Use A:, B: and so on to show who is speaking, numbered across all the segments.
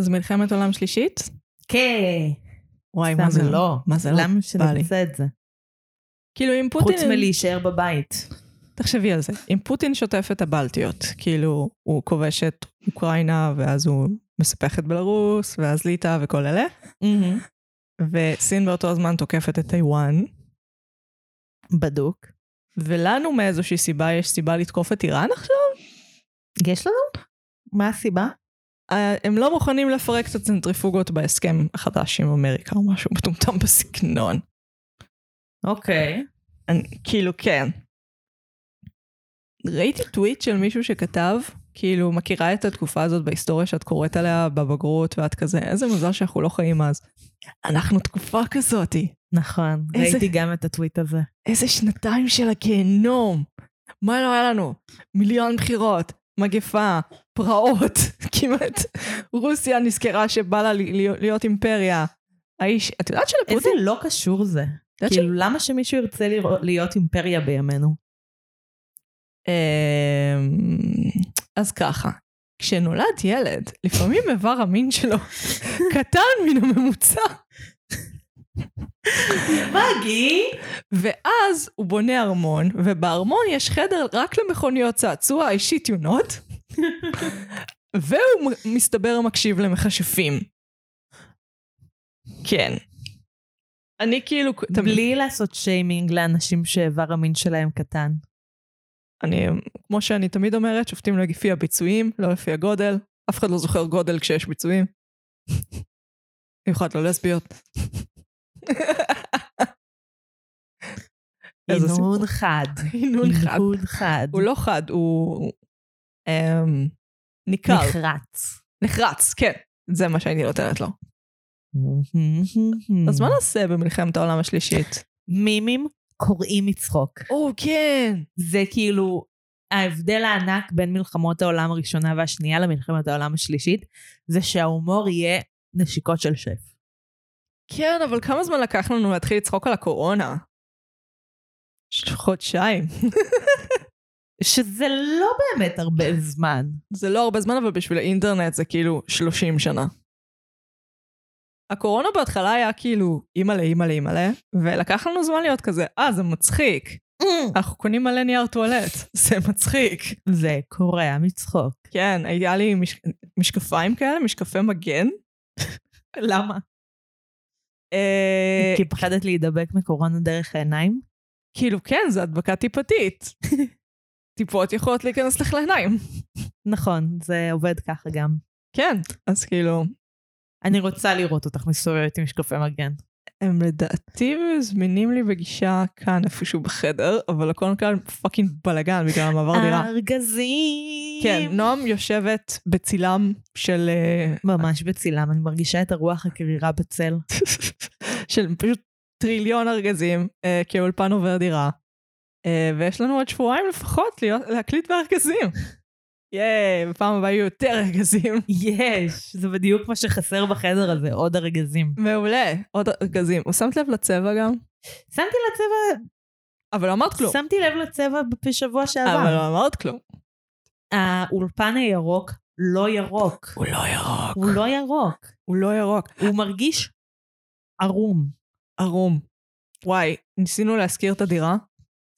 A: אז מלחמת עולם שלישית?
B: כן.
A: וואי,
B: סתם,
A: מה זה
B: לא.
A: מה זה לא?
B: למה
A: בא לי.
B: שנעשה את זה?
A: כאילו, אם פוטין...
B: חוץ מלהישאר בבית.
A: תחשבי על זה. אם פוטין שוטף את הבלטיות, כאילו, הוא כובש את אוקראינה, ואז הוא מספח את בלרוס, ואז ליטא וכל אלה, וסין באותו הזמן תוקפת את טיוואן,
B: בדוק.
A: ולנו מאיזושהי סיבה יש סיבה לתקוף את איראן עכשיו?
B: יש לנו? מה הסיבה?
A: אה, הם לא מוכנים לפרק את הצנטריפוגות בהסכם החדש עם אמריקה או משהו מטומטם בסגנון.
B: אוקיי.
A: אני, כאילו, כן. ראיתי טוויט של מישהו שכתב, כאילו, מכירה את התקופה הזאת בהיסטוריה שאת קוראת עליה בבגרות ואת כזה, איזה מזל שאנחנו לא חיים אז. אנחנו תקופה כזאתי.
B: נכון.
A: איזה-
B: ראיתי גם את הטוויט הזה.
A: איזה שנתיים של הגיהנום. מה לא היה לנו? מיליון בחירות, מגפה, פרעות, כמעט. רוסיה נזכרה שבא לה לי- להיות- להיות אימפריה. האיש, את יודעת
B: איזה
A: שלפוטין?
B: לא קשור זה.
A: את יודעת
B: כאילו, למה שמישהו ירצה לרא- להיות אימפריה בימינו?
A: אמ, אז ככה, כשנולד ילד, לפעמים איבר המין שלו קטן מן הממוצע,
B: מגי!
A: ואז הוא בונה ארמון, ובארמון יש חדר רק למכוניות צעצוע אישית יונות, והוא מ- מסתבר מקשיב למכשפים. כן. אני כאילו, בלי...
B: בלי לעשות שיימינג לאנשים שאיבר המין שלהם קטן.
A: אני, כמו שאני תמיד אומרת, שופטים לפי הביצועים, לא לפי הגודל. אף אחד לא זוכר גודל כשיש ביצועים. במיוחד לא לסביות. איזה סיפור.
B: הנהון חד.
A: הנהון חד.
B: הנהון חד.
A: הוא לא חד, הוא אמ, ניכר,
B: נחרץ.
A: נחרץ, כן. זה מה שהייתי נותנת לו. אז מה נעשה במלחמת העולם השלישית?
B: מימים קוראים מצחוק.
A: או, כן.
B: זה כאילו ההבדל הענק בין מלחמות העולם הראשונה והשנייה למלחמת העולם השלישית, זה שההומור יהיה נשיקות של שף.
A: כן, אבל כמה זמן לקח לנו להתחיל לצחוק על הקורונה? ש- חודשיים.
B: שזה לא באמת הרבה זמן.
A: זה לא הרבה זמן, אבל בשביל האינטרנט זה כאילו 30 שנה. הקורונה בהתחלה היה כאילו אימא'לה, אימא'לה, אימא'לה, ולקח לנו זמן להיות כזה, אה, זה מצחיק.
B: אה.
A: אנחנו קונים מלא נייר טואלט, זה מצחיק.
B: זה קורע מצחוק.
A: כן, היה לי מש... משקפיים כאלה, משקפי מגן.
B: למה?
A: אה,
B: כי פחדת להידבק מקורונה דרך העיניים?
A: כאילו, כן, זו הדבקה טיפתית. טיפות יכולות להיכנס לך לעיניים.
B: נכון, זה עובד ככה גם.
A: כן, אז כאילו,
B: אני רוצה לראות אותך מסתובבת עם משקפי מגן.
A: הם לדעתי מזמינים לי בגישה כאן איפשהו בחדר, אבל הכל כאן פאקינג בלאגן בגלל המעבר
B: אוקיי, לא.
A: דירה.
B: ארגזים!
A: כן, נועם יושבת בצילם של... אה,
B: ממש בצילם, אני מרגישה את הרוח הקרירה בצל.
A: של פשוט טריליון ארגזים, אה, כי האולפן עובר דירה. אה, ויש לנו עוד שבועיים לפחות להיות, להקליט בארגזים. ייי, בפעם הבאה יהיו יותר ארגזים.
B: יש, זה בדיוק מה שחסר בחדר הזה, עוד ארגזים.
A: מעולה, עוד ארגזים. הוא שמת לב לצבע גם?
B: שמתי לצבע,
A: אבל לא אמרת כלום.
B: שמתי לב לצבע בשבוע
A: אבל
B: שעבר.
A: לא אמרת כלום.
B: האולפן הירוק לא ירוק.
A: הוא לא ירוק.
B: הוא לא ירוק.
A: הוא לא ירוק.
B: הוא מרגיש ערום.
A: ערום. וואי, ניסינו להשכיר את הדירה,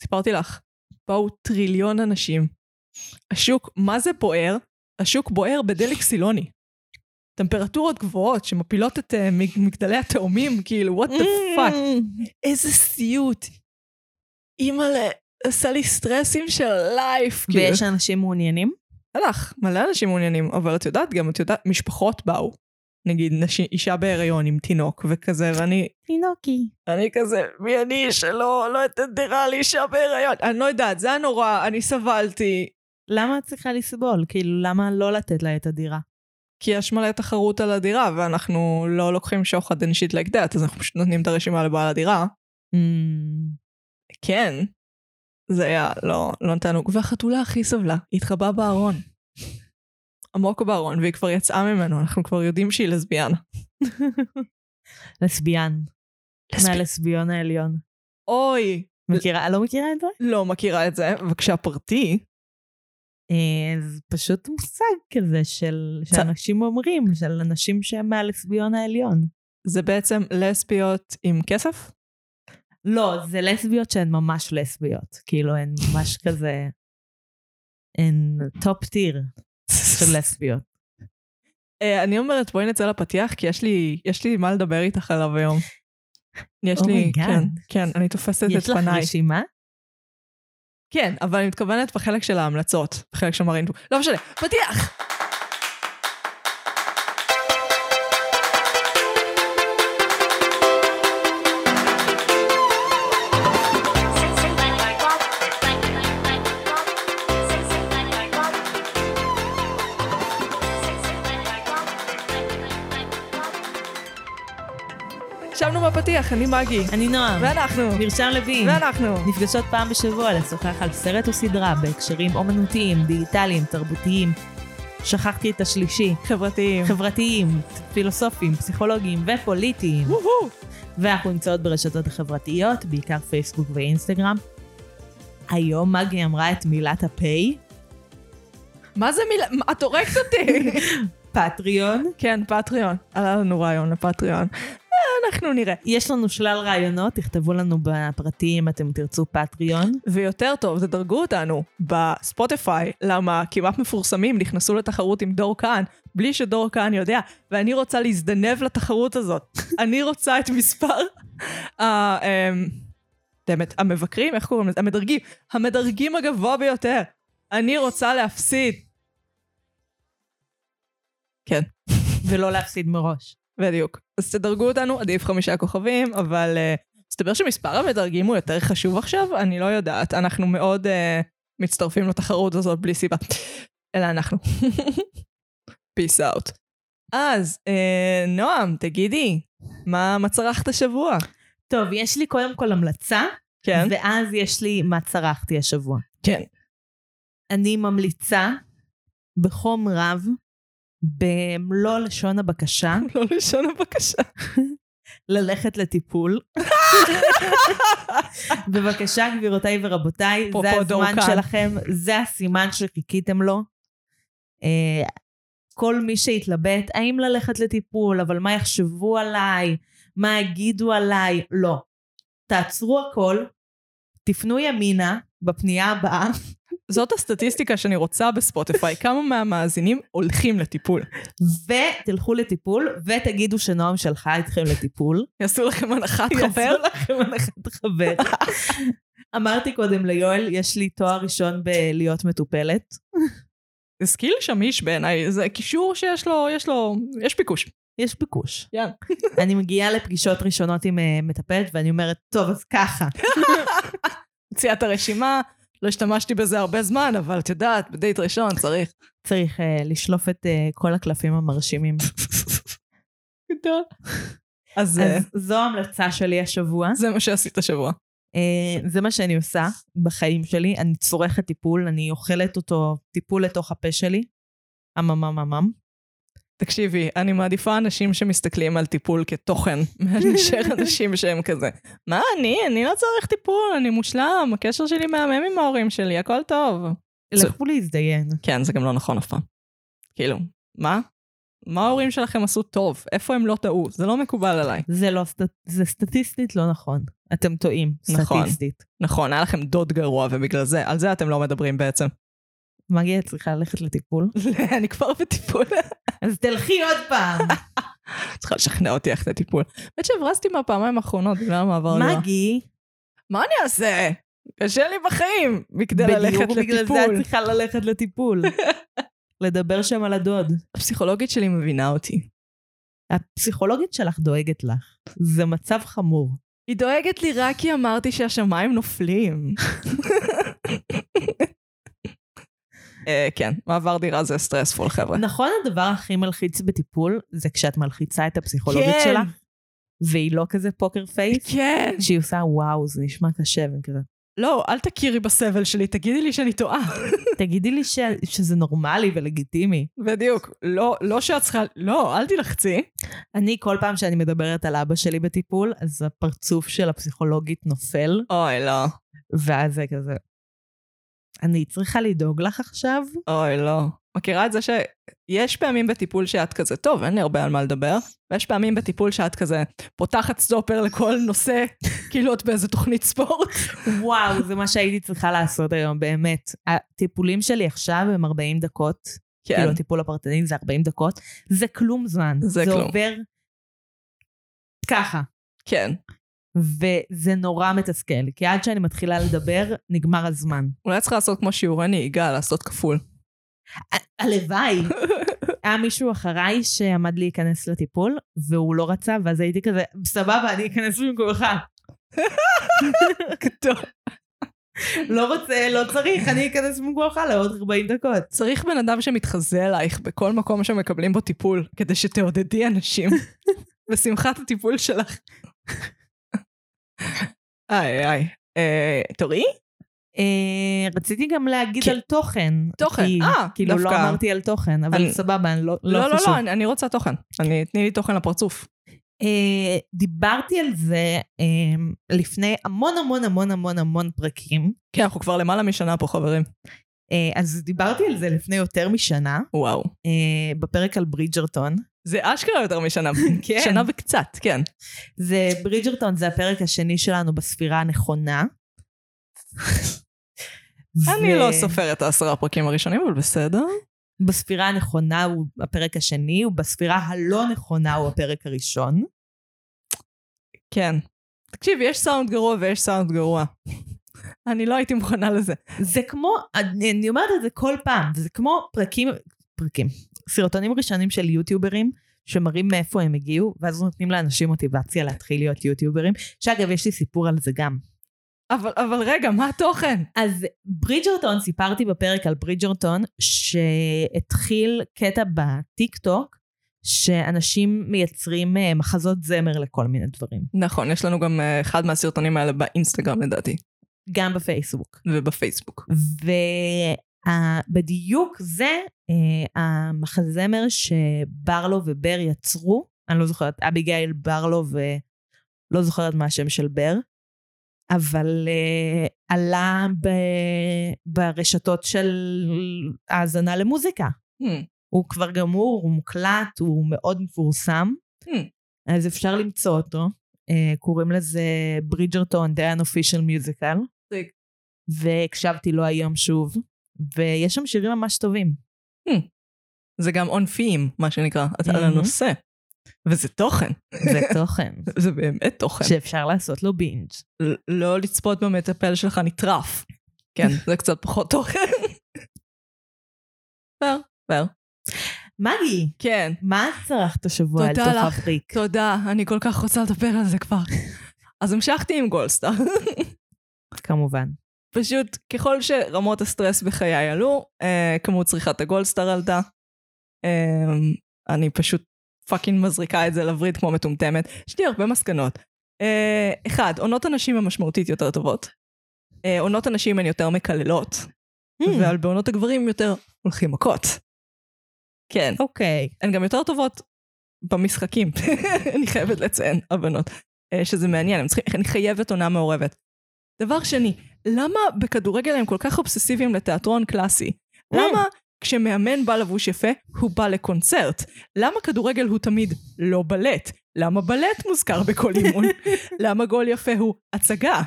A: סיפרתי לך, באו טריליון אנשים. השוק, מה זה בוער? השוק בוער בדלק סילוני. טמפרטורות גבוהות שמפילות את uh, מגדלי התאומים, כאילו, what the fuck.
B: Mm.
A: Mm, איזה סיוט.
B: כן.
A: אימא'לה, עשה לי סטרסים של לייף. כאילו.
B: ויש אנשים מעוניינים?
A: הלך, מלא אנשים מעוניינים, אבל את יודעת גם, את יודעת, משפחות באו. נגיד, נשי, אישה בהיריון עם תינוק וכזה, ואני
B: תינוקי.
A: אני כזה, מי אני שלא לא אתן דירה לאישה בהיריון? אני לא יודעת, זה היה נורא, אני סבלתי.
B: למה את צריכה לסבול? כאילו, למה לא לתת לה את הדירה?
A: כי יש מלא תחרות על הדירה, ואנחנו לא לוקחים שוחד and shit like that, אז אנחנו פשוט נותנים את הרשימה לבעל הדירה. Mm. כן. זה היה, לא, לא נתנו. והחתולה הכי סבלה, היא התחבאה בארון. עמוק בארון, והיא כבר יצאה ממנו, אנחנו כבר יודעים שהיא לסביאנה.
B: לסביאן.
A: לסבי-
B: מהלסביון העליון.
A: אוי,
B: מכירה? לא מכירה את זה?
A: לא מכירה את זה, וכשהפרטי,
B: אה, זה פשוט מושג כזה של,
A: צ-
B: שאנשים אומרים, של אנשים שהם מהלסביון העליון.
A: זה בעצם לסביות עם כסף?
B: לא, זה לסביות שהן ממש לסביות. כאילו, הן ממש כזה... הן טופ טיר של לסביות.
A: אה, אני אומרת, בואי נצא לפתיח, כי יש לי, יש לי מה לדבר איתך עליו היום. יש לי,
B: אומייגאד.
A: כן, כן, אני תופסת את
B: Oh יש לך
A: פניי.
B: רשימה?
A: כן, אבל אני מתכוונת בחלק של ההמלצות, בחלק של מרינטו. לא משנה, פתיח! ישבנו בפתיח, אני מגי.
B: אני נועם.
A: ואנחנו.
B: לא, מרשם לוין.
A: ואנחנו.
B: נפגשות פעם בשבוע לשוחח על סרט או סדרה בהקשרים אומנותיים, דיגיטליים, תרבותיים. שכחתי את השלישי.
A: חברתיים.
B: חברתיים, פילוסופיים, פסיכולוגיים ופוליטיים.
A: וואו.
B: ואנחנו נמצאות ברשתות החברתיות, בעיקר פייסבוק ואינסטגרם. היום מגי אמרה את מילת הפיי,
A: מה זה מילה? מה, את הורגת אותי!
B: פטריון.
A: כן, פטריון. עלה לנו רעיון לפטריון. אה, אנחנו נראה.
B: יש לנו שלל רעיונות, תכתבו לנו בפרטים, אתם תרצו פטריון.
A: ויותר טוב, תדרגו אותנו בספוטיפיי, למה כמעט מפורסמים נכנסו לתחרות עם דור כהן, בלי שדור כהן יודע, ואני רוצה להזדנב לתחרות הזאת. אני רוצה את מספר ה... אמ, דמת, המבקרים, איך קוראים לזה? המדרגים. המדרגים הגבוה ביותר. אני רוצה להפסיד. כן,
B: ולא להפסיד מראש.
A: בדיוק. אז תדרגו אותנו, עדיף חמישה כוכבים, אבל אה, מסתבר שמספר המדרגים הוא יותר חשוב עכשיו, אני לא יודעת. אנחנו מאוד אה, מצטרפים לתחרות הזאת בלי סיבה. אלא אנחנו. Peace out. אז, אה, נועם, תגידי, מה, מה צרכת השבוע?
B: טוב, יש לי קודם כל המלצה,
A: כן.
B: ואז יש לי מה צרכתי השבוע.
A: כן.
B: אני ממליצה בחום רב, במלוא לשון הבקשה,
A: לא לשון הבקשה.
B: ללכת לטיפול. בבקשה, גבירותיי ורבותיי, זה
A: אפרופו דור
B: הזמן
A: כאן.
B: שלכם, זה הסימן שחיכיתם לו. אה, כל מי שהתלבט, האם ללכת לטיפול, אבל מה יחשבו עליי, מה יגידו עליי, לא. תעצרו הכל, תפנו ימינה בפנייה הבאה,
A: זאת הסטטיסטיקה שאני רוצה בספוטיפיי. כמה מהמאזינים הולכים לטיפול?
B: ותלכו לטיפול, ותגידו שנועם שלחה אתכם לטיפול.
A: יעשו לכם הנחת חבר?
B: חבר לכם הנחת חבר. אמרתי קודם ליואל, יש לי תואר ראשון בלהיות מטופלת.
A: זה סקיל כאילו שמיש בעיניי, זה קישור שיש לו, יש לו, יש ביקוש.
B: יש ביקוש.
A: כן.
B: אני מגיעה לפגישות ראשונות עם אה, מטפלת, ואני אומרת, טוב, אז ככה.
A: מציאת הרשימה, לא השתמשתי בזה הרבה זמן, אבל את יודעת, בדייט ראשון צריך.
B: צריך אה, לשלוף את אה, כל הקלפים המרשימים.
A: גדול. אז אה,
B: אז זו ההמלצה שלי השבוע.
A: זה מה שעשית השבוע.
B: אה, זה מה שאני עושה בחיים שלי. אני צורכת טיפול, אני אוכלת אותו, טיפול לתוך הפה שלי. אמממממם.
A: תקשיבי, אני מעדיפה אנשים שמסתכלים על טיפול כתוכן, מאשר אנשים שהם כזה. מה אני? אני לא צריך טיפול, אני מושלם, הקשר שלי מהמם עם ההורים שלי, הכל טוב. זה-
B: לכו להזדיין.
A: כן, זה גם לא נכון אף פעם. כאילו, מה? מה ההורים שלכם עשו טוב? איפה הם לא טעו? זה לא מקובל עליי.
B: זה לא, סט- זה סטטיסטית לא נכון. אתם טועים,
A: נכון.
B: סטטיסטית.
A: נכון, היה לכם דוד גרוע, ובגלל זה, על זה אתם לא מדברים בעצם.
B: מגי, את צריכה ללכת לטיפול?
A: אני כבר בטיפול.
B: אז תלכי עוד פעם.
A: צריכה לשכנע אותי איך זה טיפול. האמת שהברזתי מהפעמיים האחרונות בגלל המעבר דירה.
B: מגי,
A: מה אני אעשה? קשה לי בחיים מכדי ללכת
B: בדיוק בגלל זה את
A: לטיפול.
B: צריכה ללכת לטיפול. לדבר שם על הדוד.
A: הפסיכולוגית שלי מבינה אותי.
B: הפסיכולוגית שלך דואגת לך. זה מצב חמור.
A: היא דואגת לי רק כי אמרתי שהשמיים נופלים. אה, כן, מעבר דירה זה סטרספול, חבר'ה.
B: נכון הדבר הכי מלחיץ בטיפול, זה כשאת מלחיצה את הפסיכולוגית
A: כן.
B: שלך, והיא לא כזה פוקר פייס,
A: כן.
B: שהיא עושה וואו, זה נשמע קשה וכזה.
A: לא, אל תכירי בסבל שלי, תגידי לי שאני טועה.
B: תגידי לי ש... שזה נורמלי ולגיטימי.
A: בדיוק. לא, לא שאת צריכה... לא, אל תלחצי.
B: אני, כל פעם שאני מדברת על אבא שלי בטיפול, אז הפרצוף של הפסיכולוגית נופל,
A: אוי, לא.
B: ואז זה כזה... אני צריכה לדאוג לך עכשיו?
A: אוי, לא. מכירה את זה שיש פעמים בטיפול שאת כזה, טוב, אין לי הרבה על מה לדבר, ויש פעמים בטיפול שאת כזה פותחת סטופר לכל נושא, כאילו את באיזה תוכנית ספורט.
B: וואו, זה מה שהייתי צריכה לעשות היום, באמת. הטיפולים שלי עכשיו הם 40 דקות.
A: כן,
B: כאילו הטיפול הפרטני זה 40 דקות. זה כלום זמן.
A: זה כלום.
B: זה עובר ככה.
A: כן.
B: וזה נורא מתסכל, כי עד שאני מתחילה לדבר, נגמר הזמן.
A: אולי צריך לעשות כמו שיעורי נהיגה, לעשות כפול.
B: הלוואי. היה מישהו אחריי שעמד להיכנס לטיפול, והוא לא רצה, ואז הייתי כזה, סבבה, אני אכנס במקומך.
A: טוב.
B: לא רוצה, לא צריך, אני אכנס במקומך לעוד 40 דקות.
A: צריך בן אדם שמתחזה אלייך בכל מקום שמקבלים בו טיפול, כדי שתעודדי אנשים בשמחת הטיפול שלך. איי איי. אה, תורי?
B: אה, רציתי גם להגיד
A: כן.
B: על תוכן.
A: תוכן,
B: כי-
A: אה,
B: כאילו, לא
A: דווקא.
B: אמרתי על תוכן, אבל
A: אני-
B: סבבה, אני לא
A: לא, לא,
B: חשוב.
A: לא, אני- אני רוצה תוכן. אני, תני לי תוכן לפרצוף.
B: אה, דיברתי על זה אה, לפני המון המון המון המון המון פרקים.
A: כן, אנחנו כבר למעלה משנה פה, חברים.
B: אה, אז דיברתי על זה לפני יותר משנה,
A: וואו.
B: אה, בפרק על ברידג'רטון.
A: זה אשכרה יותר משנה.
B: כן.
A: שנה וקצת, כן.
B: זה ברידג'רטון זה הפרק השני שלנו בספירה הנכונה.
A: אני
B: ו-
A: לא סופרת את העשרה הפרקים הראשונים, אבל בסדר.
B: בספירה הנכונה הוא הפרק השני, ובספירה הלא נכונה הוא הפרק הראשון.
A: כן. תקשיב, יש סאונד גרוע ויש סאונד גרוע. אני לא הייתי מוכנה לזה.
B: זה כמו, אני, אני אומרת את זה כל פעם, זה כמו פרקים, פרקים, סרטונים ראשונים של יוטיוברים, שמראים מאיפה הם הגיעו, ואז נותנים לאנשים מוטיבציה להתחיל להיות יוטיוברים, שאגב, יש לי סיפור על זה גם.
A: אבל, אבל רגע, מה התוכן?
B: אז ברידג'רטון, סיפרתי בפרק על ברידג'רטון, שהתחיל קטע בטיקטוק, שאנשים מייצרים אה, מחזות זמר לכל מיני דברים,
A: נכון, יש לנו גם אה, אחד מהסרטונים האלה באינסטגרם לדעתי,
B: גם בפייסבוק.
A: ובפייסבוק.
B: ובדיוק זה אה, המחזמר שברלו ובר יצרו, אני לא זוכרת, אביגיל ברלו ולא זוכרת מה השם של בר, אבל אה, עלה ב, ברשתות של האזנה למוזיקה.
A: Hmm,
B: הוא כבר גמור, הוא מוקלט, הוא מאוד מפורסם,
A: Hmm.
B: אז אפשר למצוא אותו. אה, קוראים לזה ברידג'רטון, דיין אופישל מיוזיקל.
A: מצחיק.
B: והקשבתי לו היום שוב, ויש שם שירים ממש טובים.
A: זה גם עונפיים, מה שנקרא, את על
B: Mhm.
A: הנושא. וזה תוכן,
B: זה תוכן,
A: זה באמת תוכן.
B: שאפשר לעשות לו בינג'.
A: ל- לא לצפות במטפל שלך נטרף. כן, זה קצת פחות תוכן. פייר, פייר.
B: מגי,
A: כן.
B: מה את צרכת השבוע אל
A: תודה
B: תוך
A: לך.
B: הפריק?
A: תודה, אני כל כך רוצה לדבר על זה כבר. אז המשכתי עם גולדסטאר.
B: כמובן.
A: פשוט ככל שרמות הסטרס בחיי עלו, אה, כמות צריכת הגולדסטאר עלתה. אה, אני פשוט פאקינג מזריקה את זה לווריד כמו מטומטמת. יש לי הרבה מסקנות. אה, אחד, עונות הנשים הן משמעותית יותר טובות. אה, עונות הנשים הן יותר מקללות, ועל בעונות הגברים יותר הולכים מכות. כן.
B: אוקיי.
A: הן גם יותר טובות במשחקים, אני חייבת לציין, הבנות, אה, שזה מעניין, הם צריכים- אני חייבת עונה מעורבת. דבר שני, למה בכדורגל הם כל כך אובססיביים לתיאטרון קלאסי?
B: Mm.
A: למה כשמאמן בא לבוש יפה, הוא בא לקונצרט? למה כדורגל הוא תמיד לא בלט? למה בלט מוזכר בכל אימון? למה גול יפה הוא הצגה?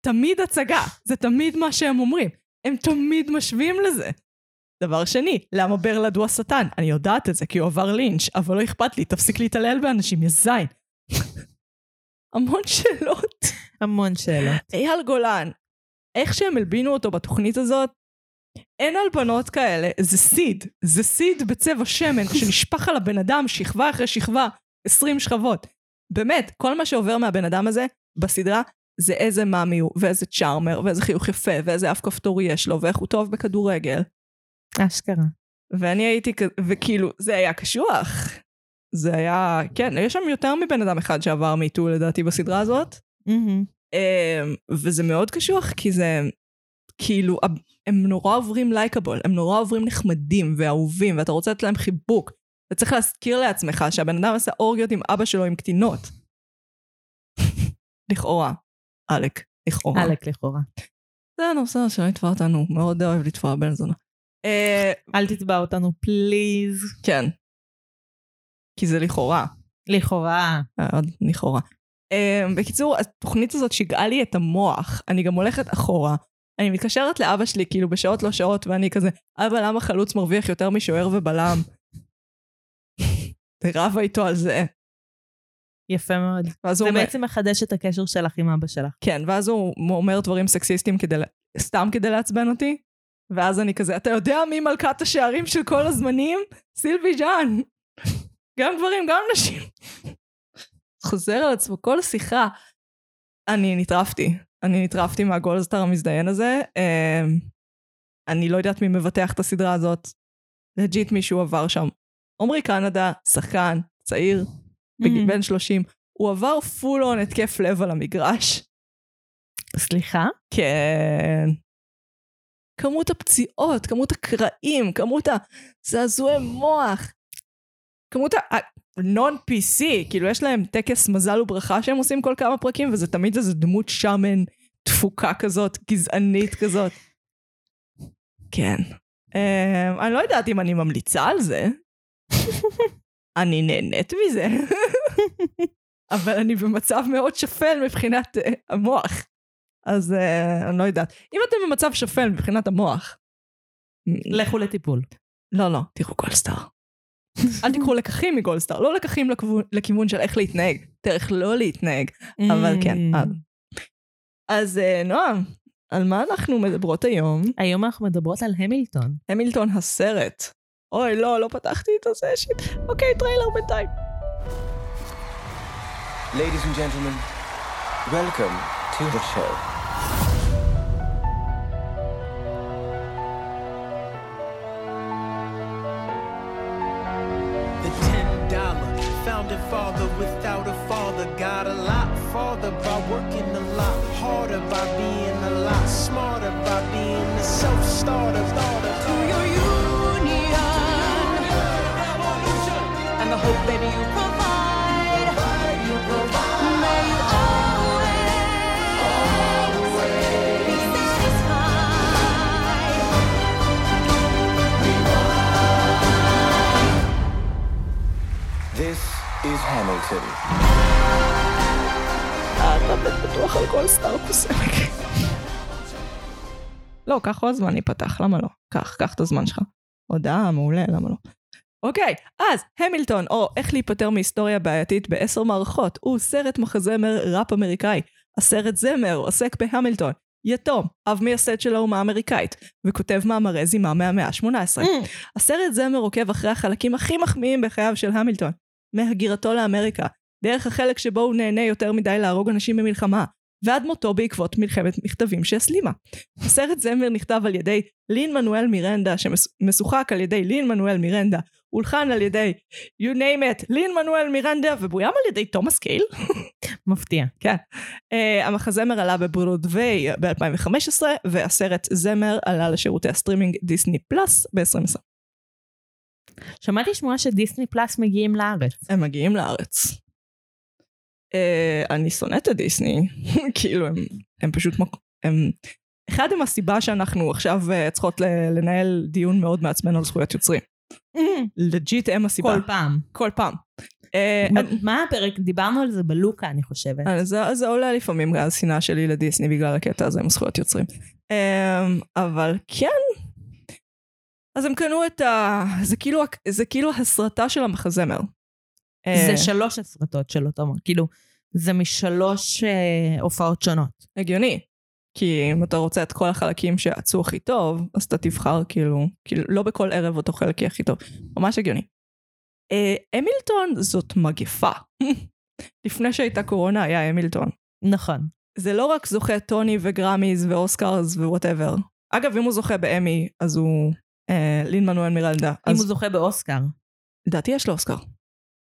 A: תמיד הצגה, זה תמיד מה שהם אומרים. הם תמיד משווים לזה. דבר שני, למה ברלד הוא השטן? אני יודעת את זה, כי הוא עבר לינץ', אבל לא אכפת לי, תפסיק להתעלל באנשים, יא זין. המון שאלות.
B: המון שאלות.
A: אייל גולן, איך שהם הלבינו אותו בתוכנית הזאת, אין על בנות כאלה, זה סיד, זה סיד בצבע שמן שנשפך על הבן אדם שכבה אחרי שכבה, 20 שכבות. באמת, כל מה שעובר מהבן אדם הזה בסדרה, זה איזה מאמי הוא, ואיזה צ'ארמר, ואיזה חיוך יפה, ואיזה אף כפתור יש לו, ואיך הוא טוב בכדורגל.
B: אשכרה.
A: ואני הייתי כזה, וכאילו, זה היה קשוח. זה היה, כן, יש שם יותר מבן אדם אחד שעבר מיטו לדעתי בסדרה הזאת.
B: מהמם.
A: אמ, וזה מאוד קשוח, כי זה, כאילו, הם- הם נורא עוברים לייקבול, הם נורא עוברים נחמדים ואהובים, ואתה רוצה לתת להם חיבוק. אתה צריך להזכיר לעצמך שהבן אדם עשה אורגיות עם אבא שלו עם קטינות. לכאורה. עלק, לכאורה.
B: עלק לכאורה.
A: זה הנושא שלא יתבע אותנו, הוא מאוד אוהב לתבוע בן זונה. אה,
B: אל תתבע אותנו, פליז.
A: כן. כי זה לכאורה.
B: לכאורה.
A: אה, עוד לכאורה. אה, בקיצור, התוכנית הזאת שיגעה לי את המוח. אני גם הולכת אחורה. אני מתקשרת לאבא שלי, כאילו, בשעות לא שעות, ואני כזה, אבא, למה חלוץ מרוויח יותר משוער ובלם? רבה איתו על זה.
B: יפה מאוד.
A: ואז
B: זה
A: הוא אומר,
B: בעצם מחדש את הקשר שלך עם אבא שלך.
A: כן, ואז הוא אומר דברים סקסיסטיים כדי, ל- סתם כדי לעצבן אותי, ואז אני כזה, אתה יודע מי מלכת השערים של כל הזמנים? סילבי ז'אן. גם גברים, גם נשים. חוזר על עצמו כל שיחה. אני נטרפתי. אני נטרפתי מהגולדסטאר המזדיין הזה. אמ, אני לא יודעת מי מבטח את הסדרה הזאת. לג'יט מישהו עבר שם. עומרי קנדה, שחקן, צעיר,
B: Mm-hmm. Mm.
A: בגיל- בן 30, הוא עבר פול און התקף לב על המגרש.
B: סליחה?
A: כן. כמות הפציעות, כמות הקרעים, כמות הזעזועי מוח, כמות ה-non-PC, כאילו יש להם טקס מזל וברכה שהם עושים כל כמה פרקים, וזה תמיד איזה דמות שמן, תפוקה כזאת, גזענית כזאת. כן. Um, אני לא יודעת אם אני ממליצה על זה. אני נהנית מזה. אבל אני במצב מאוד שפל מבחינת אה, המוח. אז אה, אני לא יודעת. אם אתם במצב שפל מבחינת המוח,
B: לכו לטיפול.
A: לא, לא, תראו גולדסטאר. אל תיקחו לקחים מגולדסטאר, לא לקחים לכיוון, לכיוון של איך להתנהג, דרך לא להתנהג. אבל כן,
B: Mm.
A: אז. אז אה, נועם, על מה אנחנו מדברות היום?
B: היום אנחנו מדברות על המילטון.
A: המילטון הסרט. אוי, לא, לא פתחתי את הזה, שיט. אוקיי, טריילר בינתיים.
C: Ladies and gentlemen, welcome to the show.
D: The ten dollar founding father without a father got a lot farther by working a lot harder by being a lot smarter by being a self starter. To your union,
E: and the hope that you provide. You provide. May you always, be satisfied.
C: This is Hamilton.
A: אה, אתה בטח בטוח על גולדסטאר פוסק. לא, קח עוד זמן להיפתח, למה לא? קח, קח את הזמן שלך. הודעה, מעולה, למה לא? אוקיי, אז המילטון, או איך להיפטר מהיסטוריה בעייתית בעשר מערכות, הוא סרט מחזמר ראפ אמריקאי. הסרט זמר עוסק בהמילטון, יתום, אב מייסד של האומה האמריקאית, וכותב מאמרי זימה מהמאה ה-18. הסרט זמר עוקב אחרי החלקים הכי מחמיאים בחייו של המילטון, מהגירתו לאמריקה, דרך החלק שבו הוא נהנה יותר מדי להרוג אנשים במלחמה, ועד מותו בעקבות מלחמת מכתבים שהסלימה. הסרט זמר נכתב על ידי לין מנואל מירנדה, שמשוחק על ידי לין מנואל מירנדה, הולחן על ידי, you name it, לין מנואל מירנדה, ובוים על ידי תומאס קייל.
B: מפתיע.
A: Uh, המחזמר עלה בברודוויי ב-2015, והסרט זמר עלה לשירותי הסטרימינג דיסני פלאס ב-2020.
B: שמעתי שמועה שדיסני פלאס מגיעים לארץ.
A: הם מגיעים לארץ. אה, אני שונאת את דיסני, כאילו הם, הם פשוט, מק... הם... אחד הם הסיבה שאנחנו עכשיו אה, צריכות ל- לנהל דיון מאוד מעצבן על זכויות יוצרים. לג'יט הם הסיבה.
B: כל פעם.
A: כל פעם. אה,
B: מה- מה הפרק? דיברנו על זה בלוקה, אני חושבת.
A: אה, זה, זה עולה לפעמים אה, השנאה שלי לדיסני בגלל הקטע הזה עם זכויות יוצרים. אמ, אבל כן. אז הם קנו את ה... זה כאילו, הק- זה כאילו הסרטה של המחזמר. אה,
B: זה שלוש הסרטות של אותו, כאילו, זה משלוש אה, הופעות שונות.
A: הגיוני. כי אם אתה רוצה את כל החלקים שעצו הכי טוב, אז אתה תבחר כאילו, כאילו לא בכל ערב אותו חלק יהיה הכי טוב. ממש הגיוני. אה, המילטון זאת מגפה. לפני שהייתה קורונה היה המילטון.
B: נכון.
A: זה לא רק זוכה טוני וגרמיז ואוסקרס ווואטאבר. אגב, אם הוא זוכה באמי, אז הוא אה, לין מנואל מירנדה.
B: אם
A: אז
B: הוא זוכה באוסקר.
A: לדעתי יש לו אוסקר.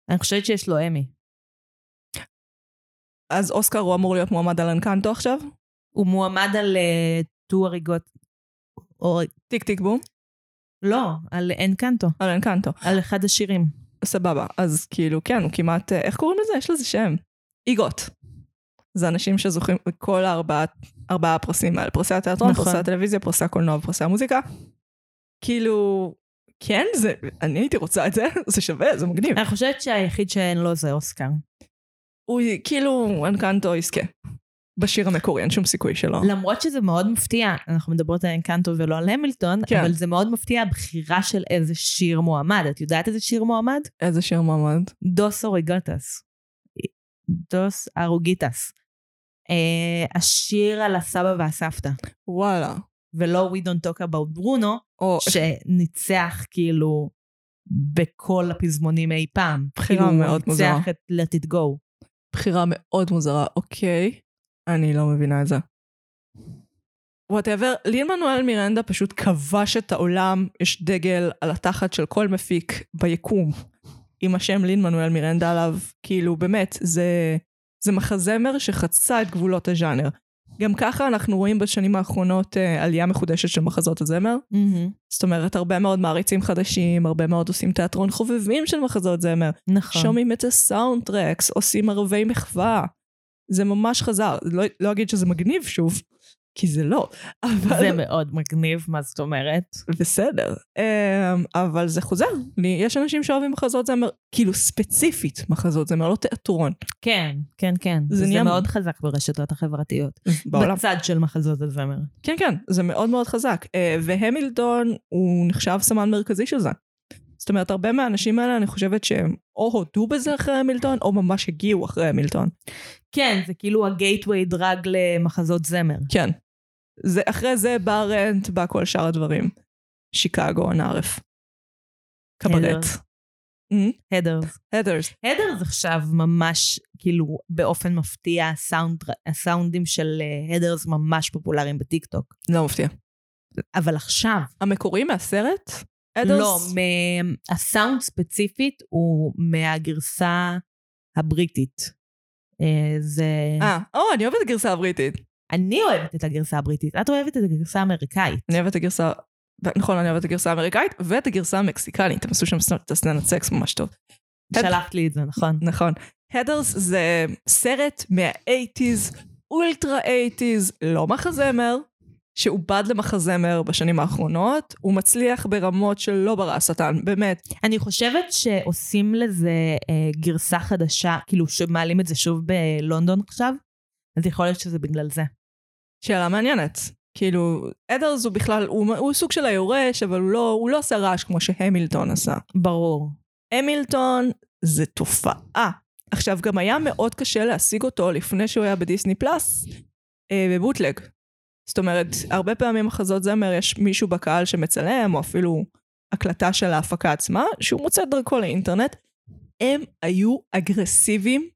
B: אני חושבת שיש לו אמי.
A: אז אוסקר הוא אמור להיות מועמד על אנקנטו עכשיו?
B: הוא מועמד על אה, טו הריגות. או...
A: טיק טיק בום,
B: לא, על אנקנטו.
A: על אנקנטו.
B: על אחד השירים.
A: סבבה, אז כאילו, כן, הוא כמעט, אה, איך קוראים לזה? יש לזה שם. איגוט. זה אנשים שזוכים כל הארבעה ארבעה הפרסים האלה, פרסי התיאטרון,
B: נכון.
A: פרסי הטלוויזיה, פרסי הקולנוע ופרסי המוזיקה. כאילו, כן, זה, אני הייתי רוצה את זה, זה שווה, זה מגניב.
B: אני חושבת שהיחיד שאין לו זה אוסקר.
A: אה. הוא כאילו, אנקנטו יזכה. בשיר המקורי, אין שום סיכוי שלא.
B: למרות שזה מאוד מפתיע, אנחנו מדברות על אנקנטו ולא על המילטון,
A: כן.
B: אבל זה מאוד מפתיע הבחירה של איזה שיר מועמד. את יודעת איזה שיר מועמד?
A: איזה שיר מועמד?
B: דוס אוריגטס. דוס ארוגיטס. אה, השיר על הסבא והסבתא,
A: וואלה.
B: ולא We Don't Talk About ברונו,
A: או
B: שניצח כאילו בכל הפזמונים אי פעם.
A: בחירה
B: כאילו,
A: מאוד
B: הוא
A: מוזרה.
B: ניצח את Let It Go.
A: בחירה מאוד מוזרה, אוקיי. אני לא מבינה את זה. וואטאבר, לין מנואל מירנדה פשוט כבש את העולם, יש דגל על התחת של כל מפיק ביקום עם השם לין מנואל מירנדה עליו, כאילו באמת, זה, זה מחזמר שחצה את גבולות הז'אנר. גם ככה אנחנו רואים בשנים האחרונות אה, עלייה מחודשת של מחזות הזמר. זאת אומרת, הרבה מאוד מעריצים חדשים, הרבה מאוד עושים תיאטרון חובבים של מחזות זמר.
B: נכון.
A: שומעים את הסאונדטרקס, עושים ערבי מחווה. זה ממש חזר. לא, לא אגיד שזה מגניב שוב, כי זה לא, אבל
B: זה מאוד מגניב, מה זאת אומרת?
A: בסדר. אמ, אבל זה חוזר. לי- יש אנשים שאוהבים מחזות זמר, כאילו ספציפית מחזות זמר, לא תיאטרון.
B: כן, כן, כן.
A: זה
B: זה,
A: נהיה-
B: מאוד חזק ברשתות החברתיות.
A: בעולם.
B: בצד של מחזות הזמר.
A: כן, כן, זה מאוד מאוד חזק. אה, והמילטון הוא נחשב סמן מרכזי של זה. זאת אומרת, הרבה מהאנשים האלה, אני חושבת שהם או הודו בזה אחרי המילטון, או ממש הגיעו אחרי המילטון.
B: כן, זה כאילו הגייטווי דרג למחזות זמר.
A: כן. זה, אחרי זה בא רנט, בא כל שאר הדברים. שיקגו, נערף. קברט.
B: Heathers. הדרס.
A: הדרס.
B: הדרס עכשיו ממש, כאילו, באופן מפתיע, הסאונד, הסאונדים של אה, הדרס ממש פופולריים בטיקטוק.
A: לא מפתיע.
B: אבל עכשיו,
A: המקורי מהסרט? הדרס?
B: לא, מ- הסאונד ספציפית הוא מהגרסה הבריטית. אה, זה...
A: אה, או, אני אוהבת את הגרסה הבריטית.
B: אני אוהבת את הגרסה הבריטית, את אוהבת את הגרסה האמריקאית.
A: אני אוהבת את הגרסה, נכון, אני אוהבת את הגרסה האמריקאית ואת הגרסה המקסיקנית, הם עשו שם סצנת- את הסצנת סקס ממש טוב.
B: שלחת לי את זה, נכון?
A: נכון. הדרס זה סרט מה-80's, אולטרה 80's, לא מחזמר, שעובד למחזמר בשנים האחרונות, הוא מצליח ברמות שלא ברא השטן, באמת.
B: אני חושבת שעושים לזה אה, גרסה חדשה, כאילו שמעלים את זה שוב בלונדון עכשיו, אז יכול להיות שזה בגלל זה.
A: שאלה מעניינת. כאילו, אדרס הוא בכלל, הוא, הוא סוג של היורש, אבל הוא לא, הוא לא עושה רעש כמו שהמילטון עשה.
B: ברור.
A: המילטון זה תופעה. עכשיו, גם היה מאוד קשה להשיג אותו לפני שהוא היה בדיסני פלאס, אה, בבוטלג. זאת אומרת, הרבה פעמים מחזות זמר, יש מישהו בקהל שמצלם, או אפילו הקלטה של ההפקה עצמה, שהוא מוצא את דרכו לאינטרנט. הם היו אגרסיביים.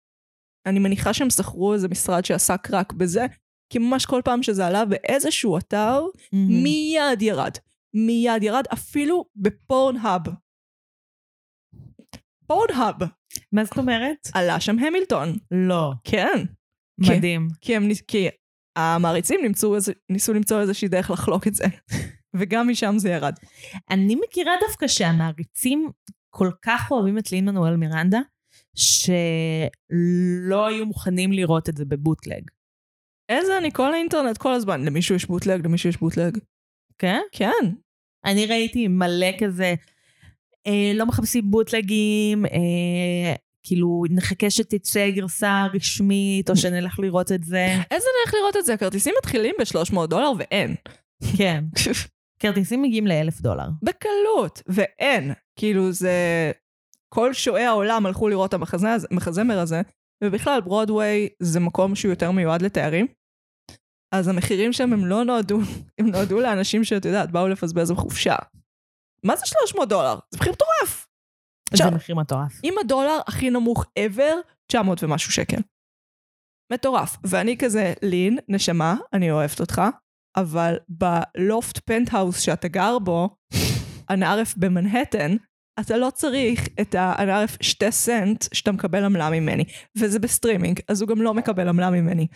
A: אני מניחה שהם שכרו איזה משרד שעסק רק בזה, כי ממש כל פעם שזה עלה באיזשהו אתר,
B: Mm.
A: מיד ירד. מיד ירד, אפילו בפורנהאב. פורנהאב
B: מה זאת אומרת?
A: עלה שם המילטון.
B: לא.
A: כן. כן.
B: מדהים.
A: כי, הם, ניס- כי המעריצים נמצאו איזה, ניסו למצוא איזושהי דרך לחלוק את זה. וגם משם זה ירד.
B: אני מכירה דווקא שהמעריצים כל כך אוהבים את לין מנואל מירנדה, שלא היו מוכנים לראות את זה בבוטלג.
A: איזה אני כל האינטרנט כל הזמן. למישהו יש בוטלג, למישהו יש בוטלג.
B: כן?
A: כן.
B: אני ראיתי מלא כזה, אה, לא מחפשים בוטלגים, אה, כאילו נחכה שתצא גרסה רשמית, או שנלך לראות את זה.
A: איזה נלך לראות את זה? הכרטיסים מתחילים ב-300 דולר ואין.
B: כן. כרטיסים מגיעים לאלף דולר.
A: בקלות, ואין. כאילו זה... כל שועי העולם הלכו לראות את המחזה הזה- המחזמר הזה, ובכלל ברודוויי זה מקום שהוא יותר מיועד לתיירים. אז המחירים שם הם לא נועדו, הם נועדו לאנשים שאת יודעת, באו לפזבז בחופשה. מה זה 300 דולר? זה מחיר מטורף.
B: זה
A: עכשיו,
B: מחיר מטורף.
A: אם הדולר הכי נמוך ever, 900 ומשהו שקל. מטורף. ואני כזה, לין, נשמה, אני אוהבת אותך, אבל בלופט פנטהאוס שאתה גר בו, הנערף במנהטן, אתה לא צריך את הנערף שתי סנט שאתה מקבל עמלה ממני. וזה בסטרימינג, אז הוא גם לא מקבל עמלה ממני.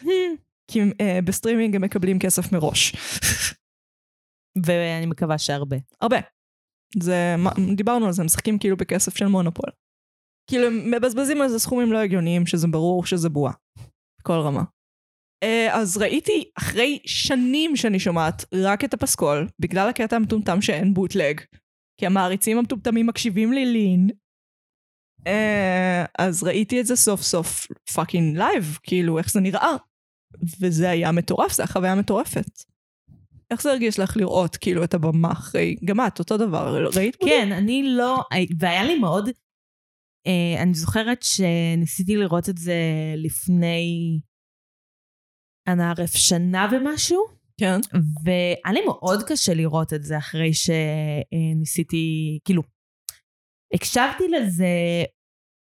A: כי אה, בסטרימינג הם מקבלים כסף מראש.
B: ואני מקווה שהרבה.
A: הרבה. זה, מה- דיברנו על זה, הם משחקים כאילו בכסף של מונופול. כאילו, הם מבזבזים על זה סכומים לא הגיוניים, שזה ברור שזה בועה. בכל רמה. אה, אז ראיתי אחרי שנים שאני שומעת רק את הפסקול, בגלל הקטע המטומטם שאין בוטלג, כי המעריצים המטומטמים מקשיבים לי לין. אה, אז ראיתי את זה סוף סוף פאקינג לייב, כאילו איך זה נראה. וזה היה מטורף, זו החוויה מטורפת. איך זה הרגיש לך לראות כאילו את הבמה אחרי, גם את אותו דבר, ראית? בוטלג?
B: כן, אני לא, והיה לי מאוד, אה, אני זוכרת שניסיתי לראות את זה לפני, אנא ערף שנה ומשהו,
A: כן.
B: והיה לי מאוד קשה לראות את זה אחרי שניסיתי, כאילו, הקשבתי לזה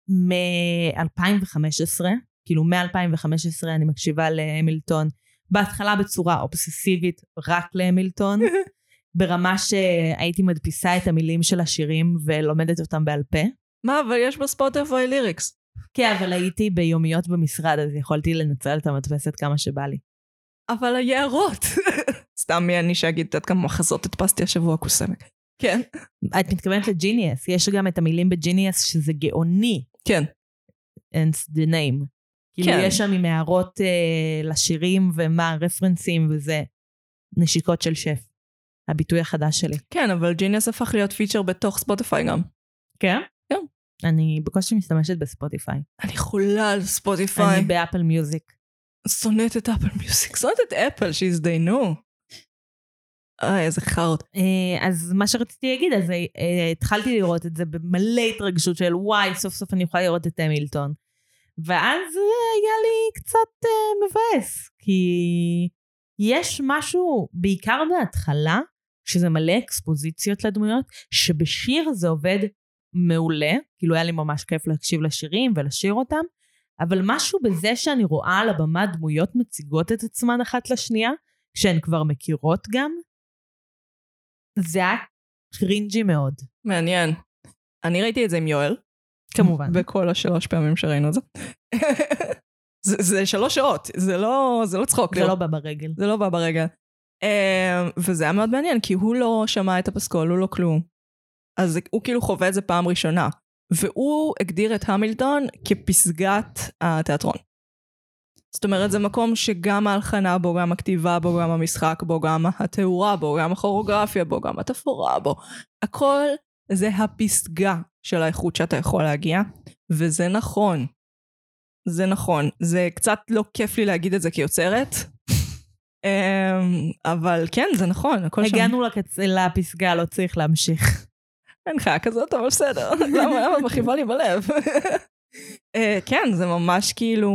B: מ-2015, כאילו מ-2015 אני מקשיבה להמילטון, בהתחלה בצורה אובססיבית רק להמילטון, ברמה שהייתי מדפיסה את המילים של השירים ולומדת אותם בעל פה.
A: מה, אבל יש בספוטיפיי ליריקס.
B: כן, אבל הייתי ביומיות במשרד, אז יכולתי לנצל את המדפסת כמה שבא לי.
A: אבל היערות. סתם מי אני שאגיד, את יודעת כמה מחזות הדפסתי השבוע קוסמת. כן.
B: את מתכוונת לג'יניאס, יש גם את המילים בג'יניאס שזה גאוני,
A: כן.
B: and the name. כאילו
A: כן.
B: יש שם עם הערות אה, לשירים ומה הרפרנסים וזה נשיקות של שף, הביטוי החדש שלי.
A: כן, אבל ג'יניאס הפך להיות פיצ'ר בתוך ספוטיפיי גם.
B: כן?
A: כן.
B: אני בקושי משתמשת בספוטיפיי.
A: אני חולה על ספוטיפיי.
B: אני באפל מיוזיק.
A: שונאת את אפל מיוזיק, שונאת את אפל, שהזדיינו. אה, איזה חארות.
B: אה, אז מה שרציתי להגיד, אז אה, אה, התחלתי לראות את זה במלא התרגשות של וואי, סוף סוף אני יכולה לראות את המילטון. ואז אה, היה לי קצת אה, מבאס, כי יש משהו, בעיקר בהתחלה, שזה מלא אקספוזיציות לדמויות, שבשיר זה עובד מעולה, כאילו היה לי ממש כיף להקשיב לשירים ולשיר אותם, אבל משהו בזה שאני רואה על הבמה דמויות מציגות את עצמן אחת לשנייה, כשהן כבר מכירות גם, זה היה קרינג'י מאוד,
A: מעניין. אני ראיתי את זה עם יואל,
B: כמובן.
A: בכל השלוש פעמים שראינו את זה. זה, זה שלוש שעות, זה לא, זה לא צחוק.
B: זה לא בא ברגל.
A: זה לא בא ברגע. אמ, וזה היה מאוד מעניין, כי הוא לא שמע את הפסקול, הוא לא כלום. אז זה- הוא כאילו חווה את זה פעם ראשונה. והוא הגדיר את המילטון כפסגת התיאטרון. זאת אומרת, זה מקום שגם ההלחנה בו, גם הכתיבה בו, גם המשחק בו, גם התאורה בו, גם הכוריאוגרפיה בו, גם התפאורה בו. הכל זה הפסגה של האיכות שאתה יכול להגיע, וזה נכון. זה נכון. זה קצת לא כיף לי להגיד את זה כיוצרת, אמ, אבל כן, זה נכון, הכל שם.
B: הגענו לקצ... לפסגה, לא צריך להמשיך.
A: אין חיה כזאת, אבל בסדר. למה, למה את מכאיבה לי בלב? אה, כן, זה ממש כאילו...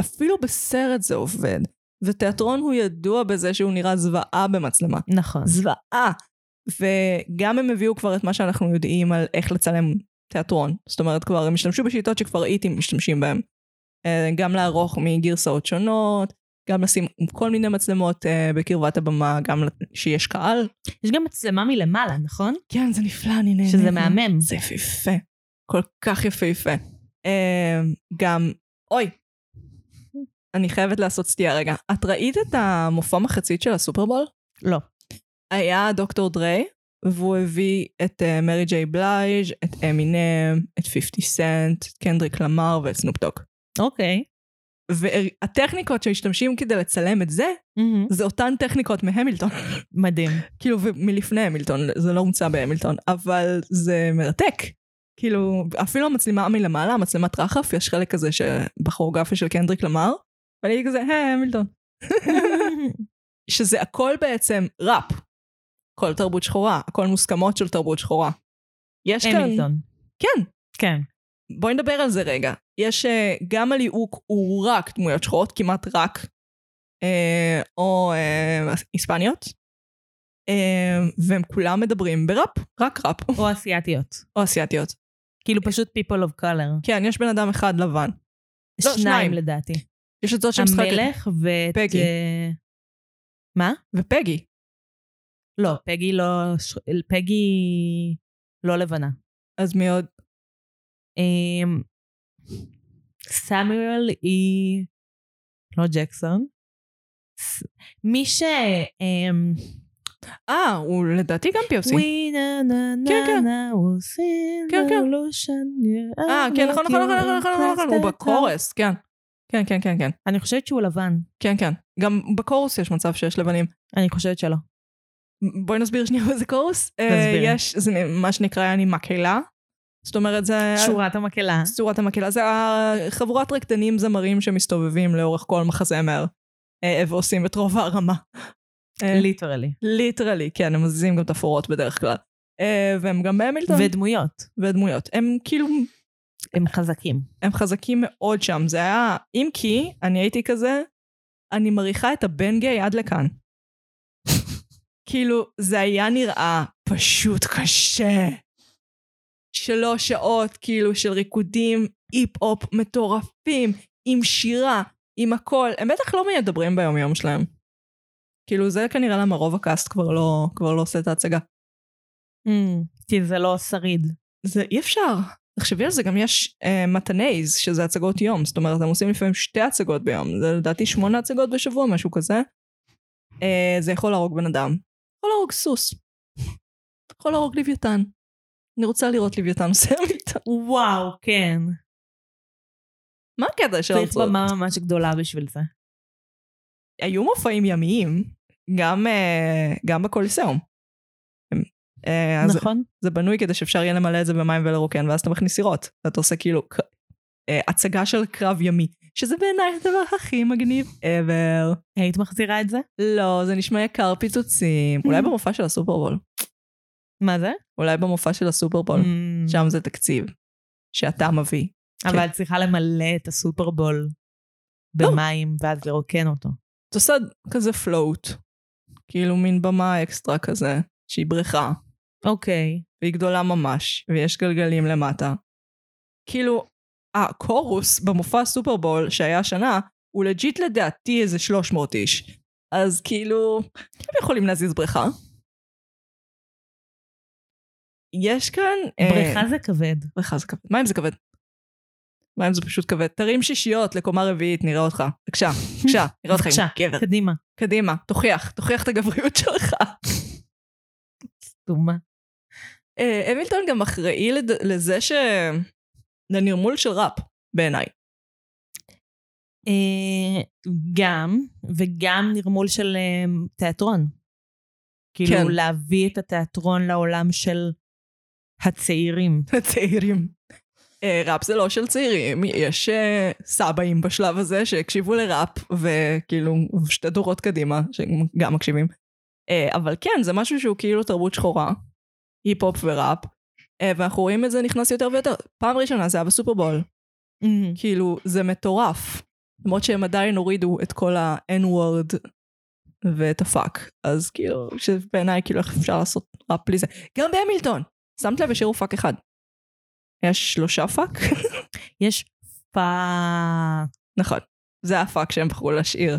A: אפילו בסרט זה עובד. ותיאטרון הוא ידוע בזה שהוא נראה זוועה במצלמה.
B: נכון.
A: זוועה. וגם הם הביאו כבר את מה שאנחנו יודעים על איך לצלם תיאטרון. זאת אומרת, כבר הם השתמשו בשיטות שכבר איטים משתמשים בהן. אה, גם לערוך מגרסאות שונות, גם לשים כל מיני מצלמות אה, בקרבת הבמה, גם שיש קהל.
B: יש גם מצלמה מלמעלה, נכון?
A: כן, זה נפלא, אני נהנה.
B: שזה מהמם.
A: זה יפהפה. כל כך יפהפה. אמ, גם, אוי, אני חייבת לעשות סטייה רגע. את ראית את המופע מחצית של הסופרבול?
B: לא.
A: היה דוקטור דריי, והוא הביא את אה, מרי ג'יי בלייז', את אמינם, את 50 סנט, את קנדריק למר ואת סנופ דוק.
B: אוקיי.
A: והטכניקות שהשתמשים כדי לצלם את זה, זה אותן טכניקות מהמילטון.
B: מדהים.
A: כאילו, ומלפני המילטון, זה לא הומצא בהמילטון, אבל זה מרתק. כאילו, אפילו המצלמה מלמעלה, המצלמת רחף, יש חלק כזה שבכורגרפיה של קנדריק למר, ואני הייתי כזה, היי, המילטון. שזה הכל בעצם ראפ. כל תרבות שחורה, הכל מוסכמות של תרבות שחורה. יש כאן...
B: המילטון.
A: כן,
B: כן.
A: בואי נדבר על זה רגע. יש, אה, גם הליהוק הוא רק דמויות שחורות, כמעט רק, אה, או אה, היספניות, אה, והם כולם מדברים בראפ, רק ראפ,
B: או אסיאתיות.
A: או אסיאתיות.
B: כאילו פשוט people of color.
A: כן, יש בן אדם אחד לבן. לא, שניים.
B: שניים לדעתי.
A: יש את זאת שמשחקת.
B: המלך ואת...
A: פגי.
B: אה, מה?
A: ופגי.
B: לא, פגי לא... ש- פגי לא לבנה.
A: אז מי עוד?
B: אמ, סמואל היא... לא ג'קסון. ס- מי ש... אמ,
A: אה, הוא לדעתי גם פיופסי.
B: We na na na
A: כן, כן.
B: na will sing
A: כן, אה, כן.
B: revolution.
A: אה, כן, נכון, נכון, נכון, נכון, נכון, נכון, הוא
B: Cross the
A: בקורס, כן. כן, כן, כן, כן.
B: אני חושבת שהוא לבן.
A: כן, כן. גם בקורוס יש מצב שיש לבנים.
B: אני חושבת שלא.
A: בואי נסביר שנייה מה זה קורס.
B: תסבירי.
A: אה, יש, זה מה שנקרא יעני מקהלה. זאת אומרת, זה...
B: שורת המקהלה.
A: צורת המקהלה. זה חבורת רקדנים זמרים שמסתובבים לאורך כל מחזמר, אה, ועושים את רוב הרמה. אה,
B: ליטרלי.
A: ליטרלי, כן, הם מזיזים גם תפאורות בדרך כלל. אה, והם גם בהמילטון,
B: ודמויות.
A: ודמויות. הם כאילו,
B: הם חזקים.
A: הם חזקים מאוד שם. זה היה, אם כי, אני הייתי כזה, אני מריחה את הבן גיי עד לכאן. כאילו, זה היה נראה פשוט קשה. שלוש שעות, כאילו, של ריקודים היפ-הופ מטורפים, עם שירה, עם הכל. הם בטח לא מדברים ביום-יום שלהם. כאילו, זה כנראה למה רוב הקאסט כבר לא, כבר לא עושה את ההצגה. אה.
B: כי זה לא שריד.
A: זה אי אפשר. תחשבי על זה, גם יש אה, מתנייז, שזה הצגות יום. זאת אומרת, הם עושים לפעמים שתי הצגות ביום. זה לדעתי שמונה הצגות בשבוע, משהו כזה. אה, זה יכול להרוג בן אדם. יכול להרוג סוס. יכול להרוג לוויתן. אני רוצה לראות לוויתן עושה מיטה.
B: וואו, כן.
A: מה הקטע של
B: צריך
A: הרצאות?
B: במה ממש גדולה בשביל זה.
A: היו מופעים ימיים, גם, אה, גם בקוליסאום. אה, אז
B: נכון?
A: זה בנוי כדי שאפשר יהיה למלא את זה במים ולרוקן, ואז אתה מכניס סירות. ואתה עושה כאילו ק- אה, הצגה של קרב ימי, שזה בעיניי הדבר הכי מגניב ever.
B: היית מחזירה את זה?
A: לא, זה נשמע יקר פיצוצים. אולי במופע של הסופרבול.
B: מה זה?
A: אולי במופע של הסופרבול.
B: Mm,
A: שם זה תקציב. שאתה מביא.
B: אבל את צריכה למלא את הסופרבול לא. במים ואז לרוקן אותו.
A: את עושה כזה פלוט. כאילו מין במה אקסטרה כזה, שהיא בריכה.
B: אוקיי.
A: והיא גדולה ממש, ויש גלגלים למטה. כאילו, הקורוס במופע סופרבול שהיה השנה, הוא לג'יט לדעתי איזה 300 איש. אז כאילו, הם יכולים להזיז בריכה. יש כאן... אה,
B: בריכה זה כבד.
A: בריכה זה כבד. מה אם זה כבד? מה אם זה פשוט כבד? תרים שישיות לקומה רביעית, נראה אותך. בבקשה, בבקשה, נראה אותך
B: בבקשה,
A: עם גבר.
B: קדימה.
A: קדימה, תוכיח, תוכיח את הגבריות שלך.
B: סתומה.
A: אה, המילטון גם אחראי לד... לזה ש... לנרמול של ראפ, בעיניי.
B: אה, גם, וגם נרמול של אה, תיאטרון. כאילו
A: כן.
B: להביא את התיאטרון לעולם של הצעירים.
A: הצעירים. אה, ראפ זה לא של צעירים, יש אה, סבאים בשלב הזה שהקשיבו לראפ, וכאילו שתי דורות קדימה, שגם מקשיבים. אה, אבל כן, זה משהו שהוא כאילו תרבות שחורה, היפ-הופ וראפ, אה, ואנחנו רואים את זה נכנס יותר ויותר. פעם ראשונה זה היה בסופרבול,
B: Mm-hmm.
A: כאילו, זה מטורף. למרות שהם עדיין הורידו את כל ה-N-word ואת הפאק. אז כאילו, שבעיניי, כאילו, איך אפשר לעשות ראפ בלי זה? גם בהמילטון! שמת לב, השאירו פאק אחד. יש שלושה פאק?
B: יש פאק.
A: נכון. זה הפאק שהם בחרו להשאיר.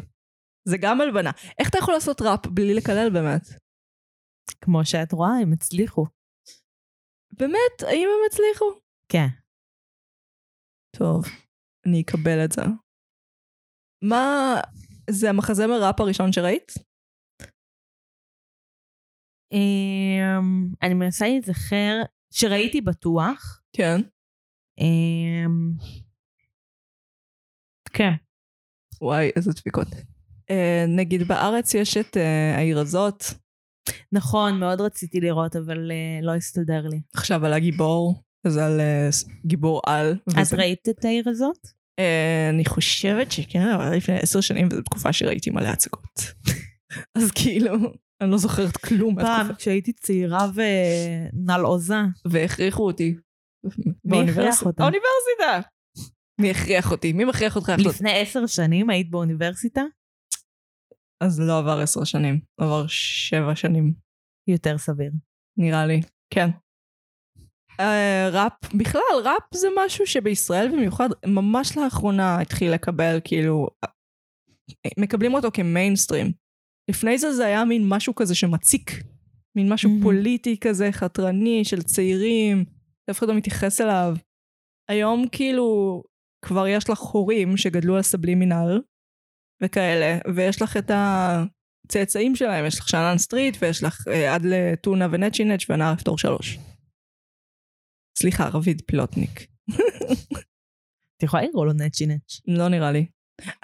A: זה גם הלבנה. איך אתה יכול לעשות ראפ בלי לקלל באמת?
B: כמו שאת רואה, הם הצליחו.
A: באמת? האם הם הצליחו?
B: כן.
A: טוב, אני אקבל את זה. מה... זה המחזמר ראפ הראשון שראית?
B: אמ, אני מנסה להיזכר, שראיתי בטוח.
A: כן.
B: אמ, כן.
A: וואי, איזה דפיקות. אה, נגיד בארץ יש את אה, העיר הזאת,
B: נכון, מאוד רציתי לראות, אבל אה, לא הסתדר לי.
A: עכשיו על הגיבור, אז על אה, ס- גיבור על.
B: את ראית את העיר הזאת?
A: אה, אני חושבת שכן, אבל לפני עשר שנים, וזו תקופה שראיתי מלא הצגות. אז כאילו, אני לא זוכרת כלום
B: פעם,
A: מהתקופה.
B: כשהייתי צעירה ונלעוזה.
A: והכריחו אותי. באוניברסיטה.
B: אותם?
A: האוניברסיטה! מי הכריח אותי? מי מכריח אותך? לעשות-
B: לפני עשר שנים היית באוניברסיטה?
A: אז לא עבר עשר שנים, עבר שבע שנים.
B: יותר סביר.
A: נראה לי. כן. אה, ראפ, בכלל, ראפ זה משהו שבישראל במיוחד, ממש לאחרונה התחיל לקבל, כאילו, אה, מקבלים אותו כמיינסטרים. לפני זה זה היה מין משהו כזה שמציק, מין משהו
B: מהמם.
A: פוליטי כזה, חתרני, של צעירים, שאף אחד לא מתייחס אליו. היום כאילו, כבר יש לך הורים שגדלו על סבלימינל, וכאלה, ויש לך את ה... צאצאים שלהם, יש לך שאנן סטריט ויש לך אה, עד לטונה ונצ'ינץ' ונער אפטור שלוש. סליחה, רביד פלוטניק.
B: את יכולה לקרוא לו נצ'י נצ'.
A: לא נראה לי.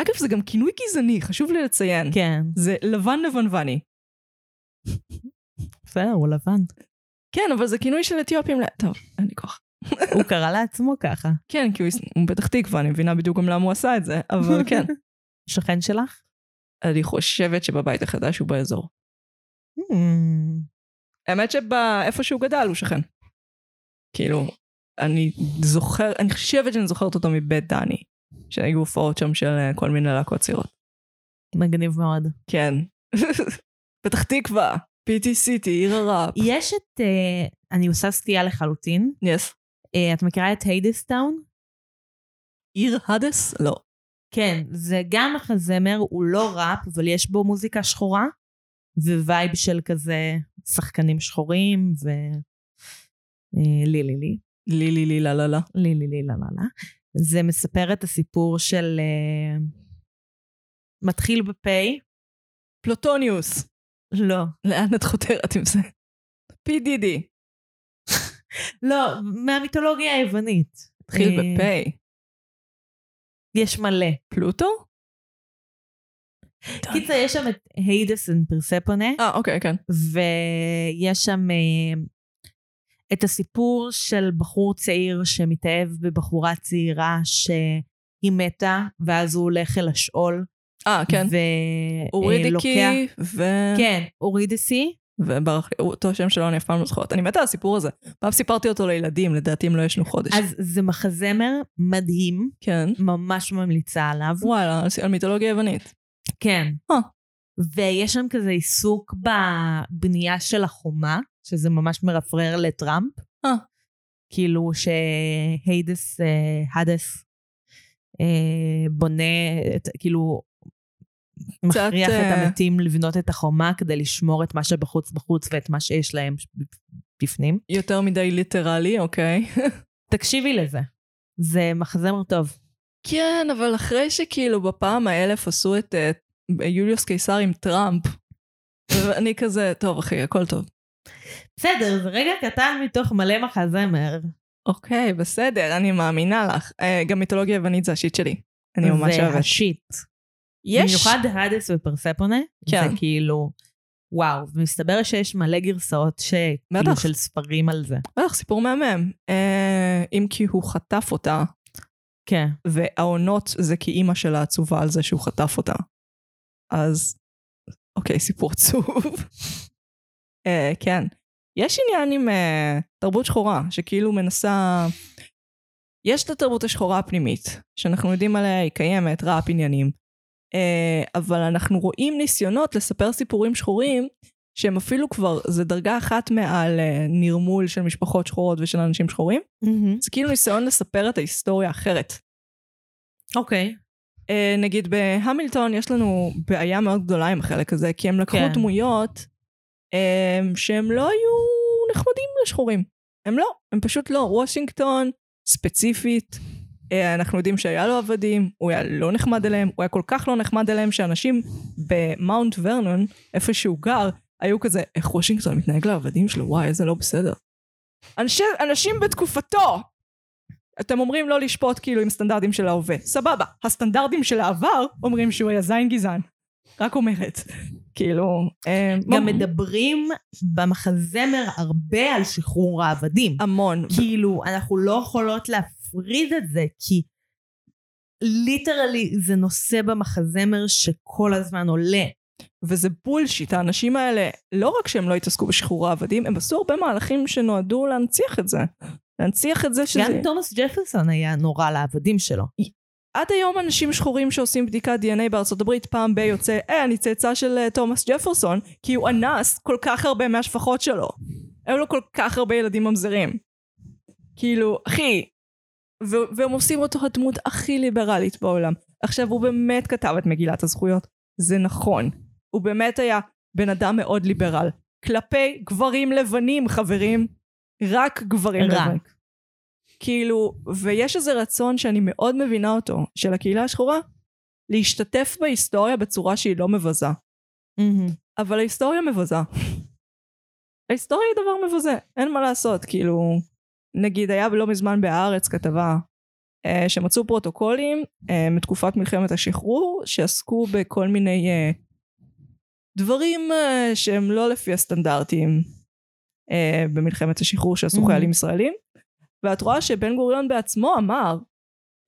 A: אגב, זה גם כינוי גזעני, חשוב לי לציין.
B: כן.
A: זה לבן לבנווני.
B: בסדר, הוא לבן.
A: כן, אבל זה כינוי של אתיופים. ל- טוב, אין לי כוח.
B: הוא קרא לעצמו ככה.
A: כן, כי הוא יש- הוא מפתח תקווה, אני מבינה בדיוק גם למה הוא עשה את זה, אבל כן.
B: שכן שלך?
A: אני חושבת שבבית החדש הוא באזור.
B: Hmm.
A: האמת שבאיפה שהוא גדל הוא שכן. כאילו, אני זוכר, אני חושבת שאני זוכרת אותו מבית דני, שהיו הופעות שם של אה, כל מיני להקות צעירות.
B: מגניב מאוד.
A: כן. פתח תקווה, פיטי סיטי, עיר הראפ.
B: יש את... אה, אני עושה סטייה לחלוטין.
A: יס.
B: אה, את מכירה את היידיסטאון?
A: עיר האדס? לא.
B: כן, זה גם מחזמר, הוא לא ראפ, אבל יש בו מוזיקה שחורה, ווייב של כזה שחקנים שחורים, ו... אה, לי לי לי.
A: לי לי לי לה לה לה.
B: לי לי לי לה לה לה. זה מספר את הסיפור של... אה, מתחיל בפ'
A: פלוטוניוס.
B: לא.
A: לאן את חותרת עם זה? פי דידי.
B: לא, מהמיתולוגיה היוונית.
A: התחיל
B: אה,
A: בפ'
B: יש מלא.
A: פלוטו?
B: קיצר, יש שם את היידס אנד פרספונה,
A: אה, אוקיי, כן.
B: ויש שם אה, את הסיפור של בחור צעיר שמתאהב בבחורה צעירה שהיא מתה, ואז הוא הולך אל השאול.
A: אה, כן.
B: ולוקח...
A: אורידיקי ו...
B: כן, אורידסי.
A: וברח לי, אותו שם שלו אני אף פעם לא זוכרת. אני מתה על הסיפור הזה. פעם סיפרתי אותו לילדים, לדעתי הם לא ישנו חודש.
B: אז זה מחזמר מדהים,
A: כן.
B: ממש ממליצה עליו.
A: וואלה, על- על מיתולוגיה יוונית.
B: כן.
A: אה.
B: ויש שם כזה עיסוק בבנייה של החומה, שזה ממש מרפרר לטראמפ.
A: אה.
B: כאילו שהיידס, אה, הדס, אה, בונה, את, כאילו,
A: קצת,
B: מכריח את
A: אה,
B: המתים לבנות את החומה כדי לשמור את מה שבחוץ בחוץ ואת מה שיש להם בפנים.
A: יותר מדי ליטרלי, אוקיי.
B: תקשיבי לזה, זה מחזמר טוב.
A: כן, אבל אחרי שכאילו בפעם האלף עשו את אה, יוליוס קיסר עם טראמפ, אני כזה, טוב אחי, הכל טוב.
B: בסדר, זה רגע קטן מתוך מלא מחזמר.
A: אוקיי, בסדר, אני מאמינה לך. אה, גם מיתולוגיה יוונית זה השיט שלי. אני ממש
B: זה
A: אוהבת.
B: השיט.
A: יש...
B: במיוחד האדס ופרספונה,
A: כן.
B: זה כאילו, וואו, מסתבר שיש מלא גרסאות ש... כאילו
A: בטח.
B: של ספרים על זה.
A: בטח, סיפור מהמם. אה, אם כי הוא חטף אותה,
B: כן.
A: והעונות זה כי אימא שלה עצובה על זה שהוא חטף אותה. אז, אוקיי, סיפור עצוב. אה, כן. יש עניין עם אה, תרבות שחורה, שכאילו מנסה... יש את התרבות השחורה הפנימית, שאנחנו יודעים עליה, היא קיימת, רעפ עניינים. אה, אבל אנחנו רואים ניסיונות לספר סיפורים שחורים, שהם אפילו כבר, זה דרגה אחת מעל אה, נרמול של משפחות שחורות ושל אנשים שחורים. זה כאילו ניסיון לספר את ההיסטוריה אחרת.
B: אוקיי.
A: אה, נגיד בהמילטון יש לנו בעיה מאוד גדולה עם החלק הזה, כי הם לקחו
B: כן.
A: כן. דמויות אה, שהם לא היו נחמדים לשחורים. הם לא, הם פשוט לא. וושינגטון, ספציפית, אה, אנחנו יודעים שהיה לו עבדים, הוא היה לא נחמד אליהם, הוא היה כל כך לא נחמד אליהם, שאנשים במאונט ורנון, איפה שהוא גר, היו כזה, איך וושינגטון מתנהג לעבדים שלו, וואי, איזה לא בסדר. אנשי, אנשים בתקופתו, אתם אומרים לא לשפוט כאילו עם סטנדרטים של ההווה. סבבה, הסטנדרטים של העבר אומרים שהוא היה זין גזען. רק אומרת. כאילו... אה,
B: גם
A: מ-
B: מדברים במחזמר הרבה על שחרור העבדים.
A: המון.
B: כאילו, אנחנו לא יכולות להפריד את זה, כי ליטרלי זה נושא במחזמר שכל הזמן עולה.
A: וזה בולשיט, האנשים האלה, לא רק שהם לא התעסקו בשחרור העבדים, הם עשו הרבה מהלכים שנועדו להנציח את זה. להנציח את זה שזה...
B: גם תומאס ג'פרסון היה נורא לעבדים שלו.
A: עד היום אנשים שחורים שעושים בדיקת DNA בארצות הברית, פעם ב- יוצא, אה, אני צאצא של אה, תומאס ג'פרסון, כי הוא אנס כל כך הרבה מהשפחות שלו. היו לו כל כך הרבה ילדים ממזרים. כאילו, אחי, ו- והם עושים אותו הדמות הכי ליברלית בעולם. עכשיו, הוא באמת כתב את מגילת הזכויות, זה נכון. הוא באמת היה בן אדם מאוד ליברל. כלפי גברים לבנים, חברים. רק גברים
B: רק.
A: לבנים. כאילו, ויש איזה רצון שאני מאוד מבינה אותו, של הקהילה השחורה, להשתתף בהיסטוריה בצורה שהיא לא מבזה. אבל ההיסטוריה מבזה. ההיסטוריה היא דבר מבזה, אין מה לעשות, כאילו... נגיד, היה לא מזמן בהארץ כתבה אה, שמצאו פרוטוקולים אה, מתקופת מלחמת השחרור שעסקו בכל מיני אה, דברים אה, שהם לא לפי הסטנדרטים אה, במלחמת השחרור שעשו
B: Mhm.
A: חיילים ישראלים ואת רואה שבן גוריון בעצמו אמר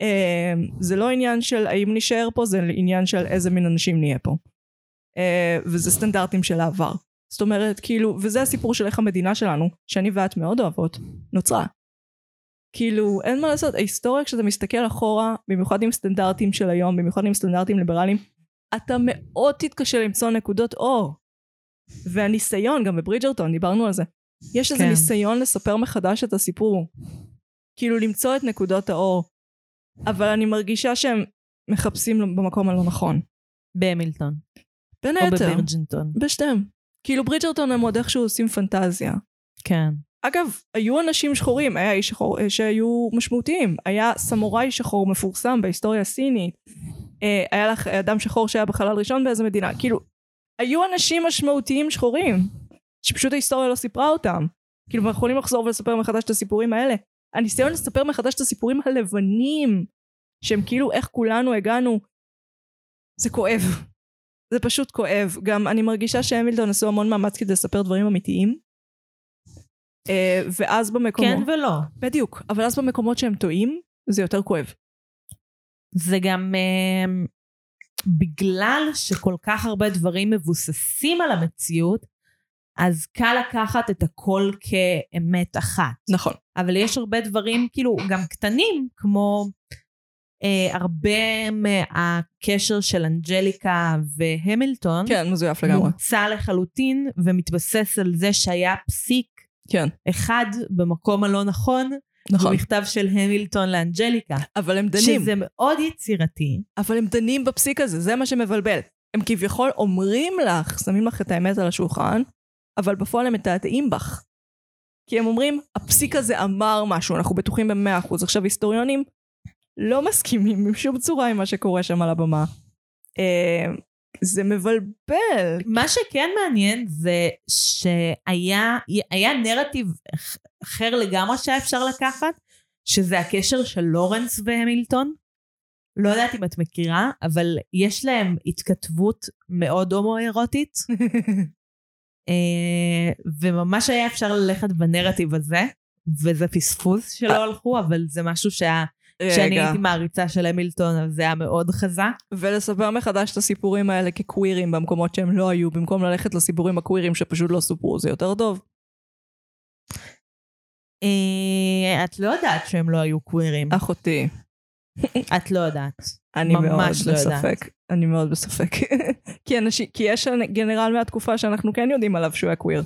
A: אה, זה לא עניין של האם נישאר פה זה עניין של איזה מין אנשים נהיה פה אה, וזה סטנדרטים של העבר זאת אומרת כאילו וזה הסיפור של איך המדינה שלנו שאני ואת מאוד אוהבות נוצרה כאילו אין מה לעשות ההיסטוריה כשאתה מסתכל אחורה במיוחד עם סטנדרטים של היום במיוחד עם סטנדרטים ליברליים אתה מאוד תתקשה למצוא נקודות אור והניסיון גם בברידג'רטון דיברנו על זה יש איזה
B: כן.
A: ניסיון לספר מחדש את הסיפור כאילו למצוא את נקודות האור אבל אני מרגישה שהם מחפשים במקום הלא נכון
B: בהמילטון.
A: בין
B: או
A: היתר
B: בווירג'ינטון.
A: בשתיהם כאילו ברידג'רטון הם עוד איכשהו עושים פנטזיה
B: כן.
A: אגב, היו אנשים שחורים, היה איש שחור אה, שהיו משמעותיים, היה סמוראי שחור מפורסם בהיסטוריה הסינית, אה, היה לך אדם שחור שהיה בחלל ראשון באיזה מדינה, כאילו, היו אנשים משמעותיים שחורים, שפשוט ההיסטוריה לא סיפרה אותם, כאילו, אנחנו יכולים לחזור ולספר מחדש את הסיפורים האלה. הניסיון לספר מחדש את הסיפורים הלבנים, שהם כאילו איך כולנו הגענו, זה כואב. זה פשוט כואב. גם אני מרגישה שהמילטון עשו המון מאמץ כדי לספר דברים אמיתיים. אה, ואז במקומות...
B: כן ולא.
A: בדיוק, אבל אז במקומות שהם טועים, זה יותר כואב.
B: זה גם אה, בגלל שכל כך הרבה דברים מבוססים על המציאות, אז קל לקחת את הכל כאמת אחת.
A: נכון.
B: אבל יש הרבה דברים, כאילו, גם קטנים, כמו אה, הרבה מהקשר של אנג'ליקה והמילטון,
A: כן, מזויף לגמרי.
B: מוצא לחלוטין ומתבסס על זה שהיה פסיק
A: כן,
B: אחד במקום הלא נכון,
A: נכון.
B: במכתב של המילטון לאנג'ליקה.
A: אבל הם דנים,
B: שזה מאוד יצירתי.
A: אבל הם דנים בפסיק הזה, זה מה שמבלבל. הם כביכול אומרים לך, שמים לך את האמת על השולחן, אבל בפועל הם מתעתעים בך. כי הם אומרים, הפסיק הזה אמר משהו, אנחנו בטוחים במאה אחוז. עכשיו, היסטוריונים לא מסכימים בשום צורה עם מה שקורה שם על הבמה. אה, זה מבלבל.
B: מה שכן מעניין זה שהיה היה נרטיב אח- אחר לגמרי שהיה אפשר לקחת, שזה הקשר של לורנס והמילטון. לא יודעת אם את מכירה, אבל יש להם התכתבות מאוד הומואירוטית, אה, וממש היה אפשר ללכת בנרטיב הזה, וזה פספוס שלא הלכו, אבל זה משהו שה... כשאני
A: רגע.
B: הייתי מעריצה של המילטון, אז זה היה מאוד חזק.
A: ולספר מחדש את הסיפורים האלה כקווירים במקומות שהם לא היו, במקום ללכת לסיפורים הקווירים שפשוט לא סופרו, זה יותר טוב.
B: אה, את לא יודעת שהם לא היו קווירים.
A: אחותי,
B: את לא יודעת.
A: אני
B: ממש
A: מאוד
B: לא יודעת.
A: בספק. אני מאוד בספק. כי, אנשי, כי יש גנרל מהתקופה שאנחנו כן יודעים עליו שהוא היה קוויר.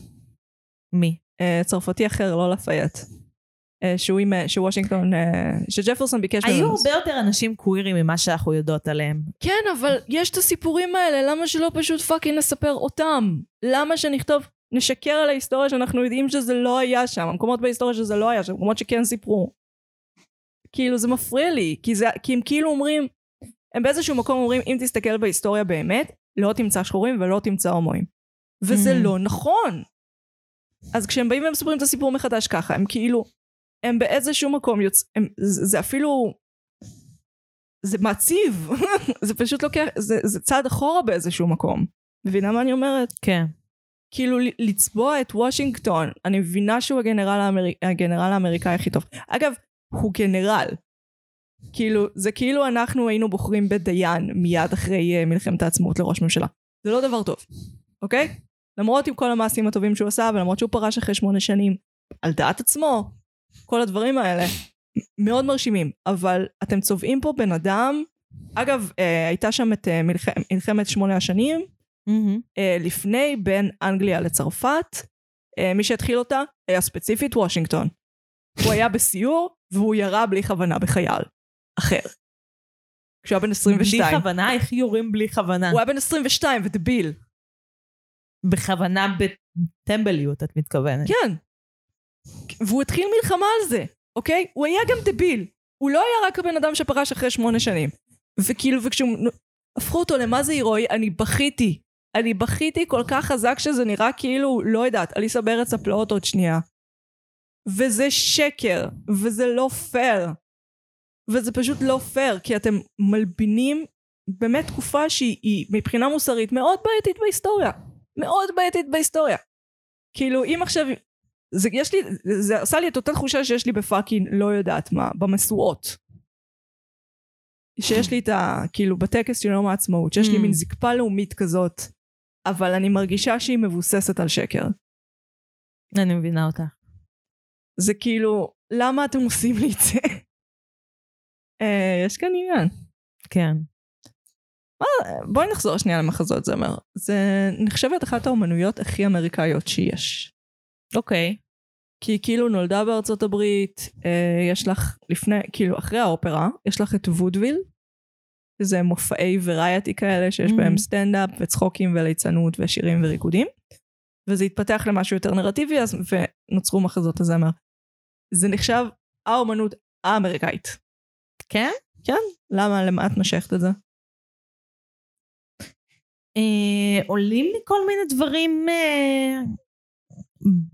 B: מי?
A: אה, צרפתי אחר, לא לפייט. אה, שהוא עם, אה, שוושינגטון, אה, שג'פרסון ביקש
B: היו
A: לעשות.
B: הרבה יותר אנשים קווירים ממה שאנחנו יודעות עליהם.
A: כן, אבל יש את הסיפורים האלה, למה שלא פשוט פאקינג נספר אותם? למה שנכתוב, נשקר על ההיסטוריה שאנחנו יודעים שזה לא היה שם, המקומות בהיסטוריה שזה לא היה שם, המקומות שכן סיפרו. כאילו, זה מפריע לי, כי, זה, כי הם כאילו אומרים, הם באיזשהו מקום אומרים, אם תסתכל בהיסטוריה באמת, לא תמצא שחורים ולא תמצא הומואים. וזה
B: Mm.
A: לא נכון. אז כשהם באים ומספרים את הסיפור מחדש ככה, הם כאילו, הם באיזשהו מקום יוצאים, זה, זה אפילו, זה מעציב, זה פשוט לוקח, זה, זה צעד אחורה באיזשהו מקום. מבינה מה אני אומרת?
B: כן.
A: כאילו ל- לצבוע את וושינגטון, אני מבינה שהוא הגנרל, האמריק... הגנרל האמריקאי הכי טוב. אגב, הוא גנרל. כאילו, זה כאילו אנחנו היינו בוחרים בדיין מיד אחרי uh, מלחמת העצמאות לראש ממשלה. זה לא דבר טוב, אוקיי? למרות עם כל המעשים הטובים שהוא עשה, ולמרות שהוא פרש אחרי שמונה שנים, על דעת עצמו, כל הדברים האלה, מ- מאוד מרשימים. אבל אתם צובעים פה בן אדם, אגב, uh, הייתה שם את uh, מלח... מלחמת שמונה השנים, אה, לפני בין אנגליה לצרפת. אה, מי שהתחיל אותה היה ספציפית וושינגטון. הוא היה בסיור והוא ירה בלי כוונה בחייל אחר. כשהוא היה בן 22.
B: בלי כוונה, איך יורים בלי כוונה?
A: הוא היה בן 22 ודביל.
B: כן. בכוונה בטמבליות, את מתכוונת.
A: כן. והוא התחיל מלחמה על זה, אוקיי? הוא היה גם דביל. הוא לא היה רק הבן אדם שפרש אחרי שמונה שנים. וכאילו, וכשהוא... נו, הפכו אותו למה זה הירואי, אני בכיתי. אני בכיתי כל כך חזק שזה נראה כאילו, לא יודעת, אליסה בארץ הפלאות עוד שנייה. וזה שקר, וזה לא פייר. וזה פשוט לא פייר, כי אתם מלבינים באמת תקופה שהיא היא מבחינה מוסרית מאוד בעייתית בהיסטוריה. מאוד בעייתית בהיסטוריה. כאילו, אם עכשיו... זה, יש לי, זה, זה עשה לי את אותה תחושה שיש לי בפאקינג לא יודעת מה, במשואות. שיש לי את ה... כאילו, בטקס של יום העצמאות, שיש לי
B: Mm.
A: מין זקפה לאומית כזאת, אבל אני מרגישה שהיא מבוססת על שקר.
B: כן. אני מבינה אותה.
A: זה כאילו, למה אתם עושים לי את זה? אה, יש כאן עניין.
B: כן.
A: אה, בואי נחזור שנייה למחזות זמר. זה נחשבת אחת האומנויות הכי אמריקאיות שיש.
B: אוקיי.
A: כי היא כאילו נולדה בארצות הברית, אה, יש לך לפני, כאילו אחרי האופרה, יש לך את וודוויל, שזה מופעי וריאטי כאלה שיש
B: Mhm.
A: בהם סטנדאפ וצחוקים וליצנות ושירים וריקודים, וזה התפתח למשהו יותר נרטיבי אז, ונוצרו מחזות הזמר. זה נחשב האומנות האמריקאית.
B: כן?
A: למה, למה את משכת את זה?
B: אה, עולים לי כל מיני דברים אה,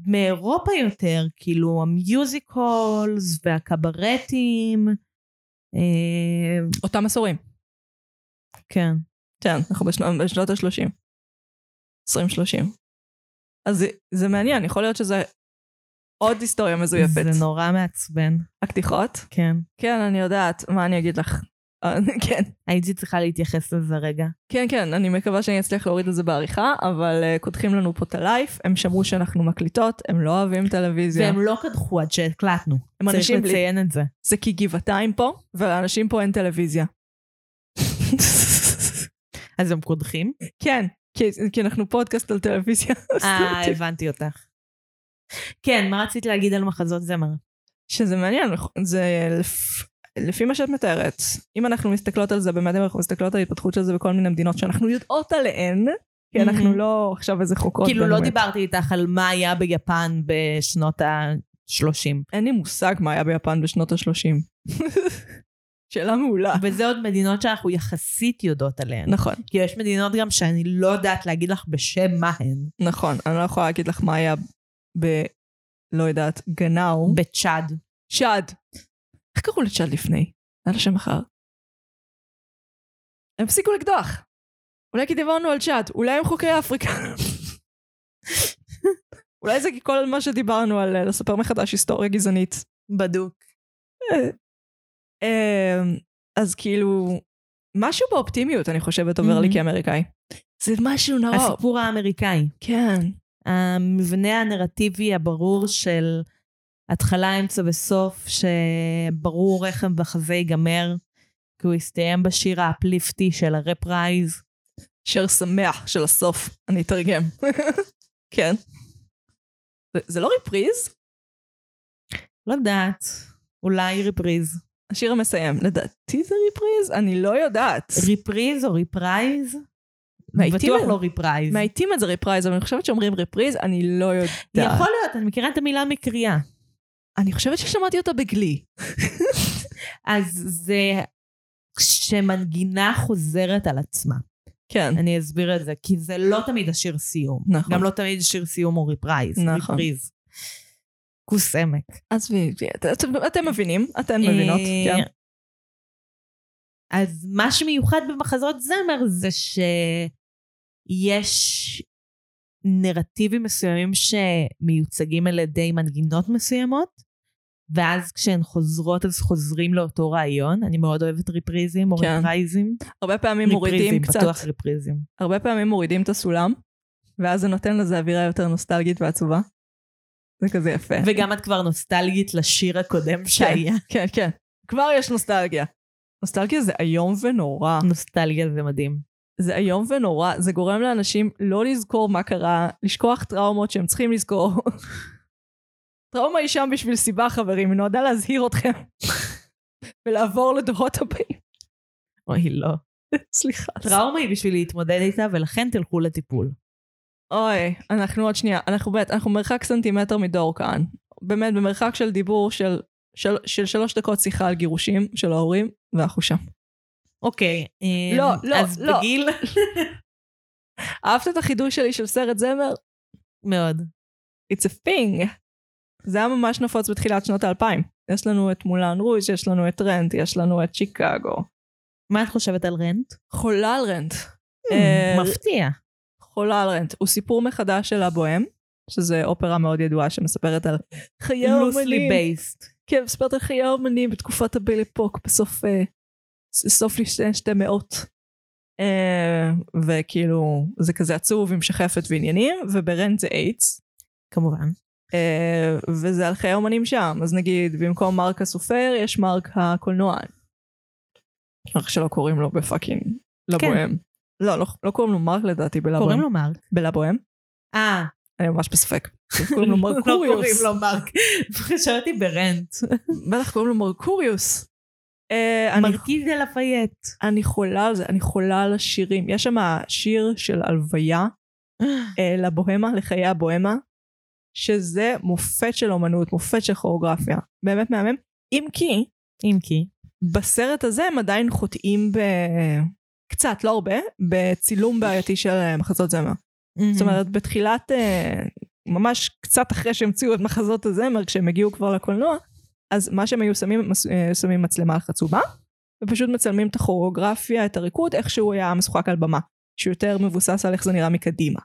B: מאירופה יותר, כאילו המיוזיקולס והקברטים. אה,
A: אותם עשורים.
B: כן.
A: כן, אנחנו בשנות, בשנות ה-30. 20-30. אז זה, זה מעניין, יכול להיות שזה עוד היסטוריה מזויפת.
B: זה נורא מעצבן.
A: הקדיחות?
B: כן.
A: כן, אני יודעת, מה אני אגיד לך? אה, כן.
B: הייתי צריכה להתייחס לזה רגע.
A: כן, כן, אני מקווה שאני אצליח להוריד את זה בעריכה, אבל uh, קודחים לנו פה את הלייף, הם שמעו שאנחנו מקליטות, הם לא אוהבים טלוויזיה.
B: והם לא קדחו עד שהקלטנו.
A: הם
B: צריך
A: אנשים בלי-
B: לציין את זה.
A: זה כי גבעתיים פה, ולאנשים פה אין טלוויזיה.
B: אז הם קודחים?
A: כן, כי, כי אנחנו פודקאסט על טלוויזיה.
B: אה, הבנתי אותך. כן, מה רצית להגיד על מחזות זמר?
A: שזה מעניין, נכון? זה לפ... לפי מה שאת מתארת, אם אנחנו מסתכלות על זה, באמת אם אנחנו מסתכלות על ההתפתחות של זה בכל מיני מדינות שאנחנו יודעות עליהן, כי אנחנו
B: מהמם.
A: לא עכשיו איזה חוקרות.
B: כאילו לא
A: בינלאומיות.
B: דיברתי איתך על מה היה ביפן בשנות ה-30.
A: אין לי מושג מה היה ביפן בשנות ה-30. שאלה מעולה.
B: וזה עוד מדינות שאנחנו יחסית יודעות עליהן.
A: נכון,
B: כי יש מדינות גם שאני לא יודעת להגיד לך בשם מה הן.
A: נכון. אני לא יכולה להגיד לך מה היה ב... לא יודעת, גנאו.
B: בצ'אד.
A: צ'אד. איך קראו לצ'אד לפני? היה לה שם אחר. הם הפסיקו לקדוח. אולי כי דיברנו על צ'אד, אולי הם חוקי אפריקה. אולי זה כל מה שדיברנו על אה, לספר מחדש היסטוריה גזענית.
B: בדוק.
A: אמ, אז כאילו, משהו באופטימיות, אני חושבת, עובר לי
B: Mhm.
A: כאמריקאי. Mm-hmm. זה משהו נורא.
B: הסיפור האמריקאי.
A: כן.
B: המבנה הנרטיבי הברור של התחלה, אמצע וסוף, שברור איך המחזה ייגמר, כי הוא יסתיים בשיר האפליפטי של הרפרייז.
A: שיר שמח של הסוף, אני אתרגם. כן. זה- זה לא ריפריז?
B: לא יודעת, אולי ריפריז.
A: השיר המסיים. לדעתי זה ריפריז? אני לא יודעת.
B: ריפריז או ריפרייז?
A: מהעיתים
B: בטוח
A: האלה.
B: לא ריפרייז.
A: מאייתים את זה ריפריז, אבל אני חושבת שאומרים ריפריז, אני לא יודעת.
B: יכול להיות, אני מכירה את המילה מקריאה.
A: אני חושבת ששמעתי אותה בגלי.
B: אז זה כשמנגינה חוזרת על עצמה.
A: כן.
B: אני אסביר את זה, כי זה לא תמיד השיר סיום.
A: נכון.
B: גם לא תמיד שיר סיום הוא ריפרייז.
A: נכון.
B: ריפריז. כוס עמק.
A: עזבי, את- את- אתם מבינים, אתן מבינות.
B: אה,
A: כן.
B: אז מה שמיוחד במחזות זמר זה שיש נרטיבים מסוימים שמיוצגים על ידי מנגינות מסוימות, ואז כשהן חוזרות אז חוזרים לאותו רעיון. אני מאוד אוהבת ריפריזים או
A: כן.
B: ריפרייזים.
A: הרבה פעמים מורידים
B: ריפריזים,
A: קצת.
B: בטוח ריפריזים.
A: הרבה פעמים מורידים את הסולם, ואז זה נותן לזה אווירה יותר נוסטלגית ועצובה. זה כזה יפה.
B: וגם את כבר נוסטלגית לשיר הקודם שהיה.
A: כן, כן. כבר יש נוסטלגיה. נוסטלגיה זה איום ונורא.
B: נוסטלגיה זה מדהים.
A: זה איום ונורא, זה גורם לאנשים לא לזכור מה קרה, לשכוח טראומות שהם צריכים לזכור. טראומה היא שם בשביל סיבה, חברים, היא נועדה להזהיר אתכם. ולעבור לדורות הבאים.
B: אוי, לא.
A: סליחה.
B: טראומה היא בשביל להתמודד איתה, ולכן תלכו לטיפול.
A: אוי, אנחנו עוד שנייה, אנחנו באמת, אנחנו מרחק סנטימטר מדור כאן. באמת, במרחק של דיבור של, של, של שלוש דקות שיחה על גירושים של ההורים, ואנחנו שם.
B: אוקיי. אמ,
A: לא, לא,
B: אז
A: לא.
B: בגיל...
A: אהבת את החידוש שלי של סרט זמר?
B: מאוד.
A: It's a thing. זה היה ממש נפוץ בתחילת שנות האלפיים. יש לנו את מולן רוז', יש לנו את רנט, יש לנו את שיקגו.
B: מה את חושבת על רנט?
A: חולה על רנט. אה,
B: Hmm, מפתיע.
A: חולה על רנט. הוא סיפור מחדש של הבוהם, שזה אופרה מאוד ידועה שמספרת על חיי
B: loosely
A: האומנים.
B: based.
A: כן, מספרת על חיי האומנים בתקופת הבילי פוק בסוף אה, ס- סוף שתי, שתי מאות. אה, וכאילו, זה כזה עצוב עם שחפת ועניינים, וברנט זה איידס.
B: כמובן.
A: אה, וזה על חיי אומנים שם. אז נגיד, במקום מרק הסופר, יש מרק הקולנוען. רק שלא קוראים לו בפאקינג לבוהם. לא, לא, לא קוראים לו מרק לדעתי בלבוהם.
B: כן. קוראים לו מרק.
A: בלבוהם?
B: אה,
A: אני ממש בספק. קוראים לו
B: לא קוראים
A: מרקוריוס.
B: לו מרק. חשבתי ברנט.
A: בטח קוראים לו מרקוריוס. אה, אני-
B: מרקיז דה לפייט.
A: אני חולה על זה, אני חולה על השירים. יש שם שיר של הלוויה אה, לבוהמה, לחיי הבוהמה, שזה מופת של אומנות, מופת של כוריאוגרפיה. באמת מהמם. אם כי,
B: אם כי.
A: בסרט הזה הם עדיין חוטאים ב... קצת, לא הרבה, בצילום בעייתי של אה, מחזות זמר. זאת אומרת, בתחילת, אה, ממש קצת אחרי שהמציאו את מחזות הזמר, כשהם הגיעו כבר לקולנוע, אז מה שהם היו שמים, מס- אה, שמים מצלמה על חצובה, ופשוט מצלמים את הכוריאוגרפיה, את הריקוד, איך שהוא היה משוחק על במה, שהוא יותר מבוסס על איך זה נראה מקדימה.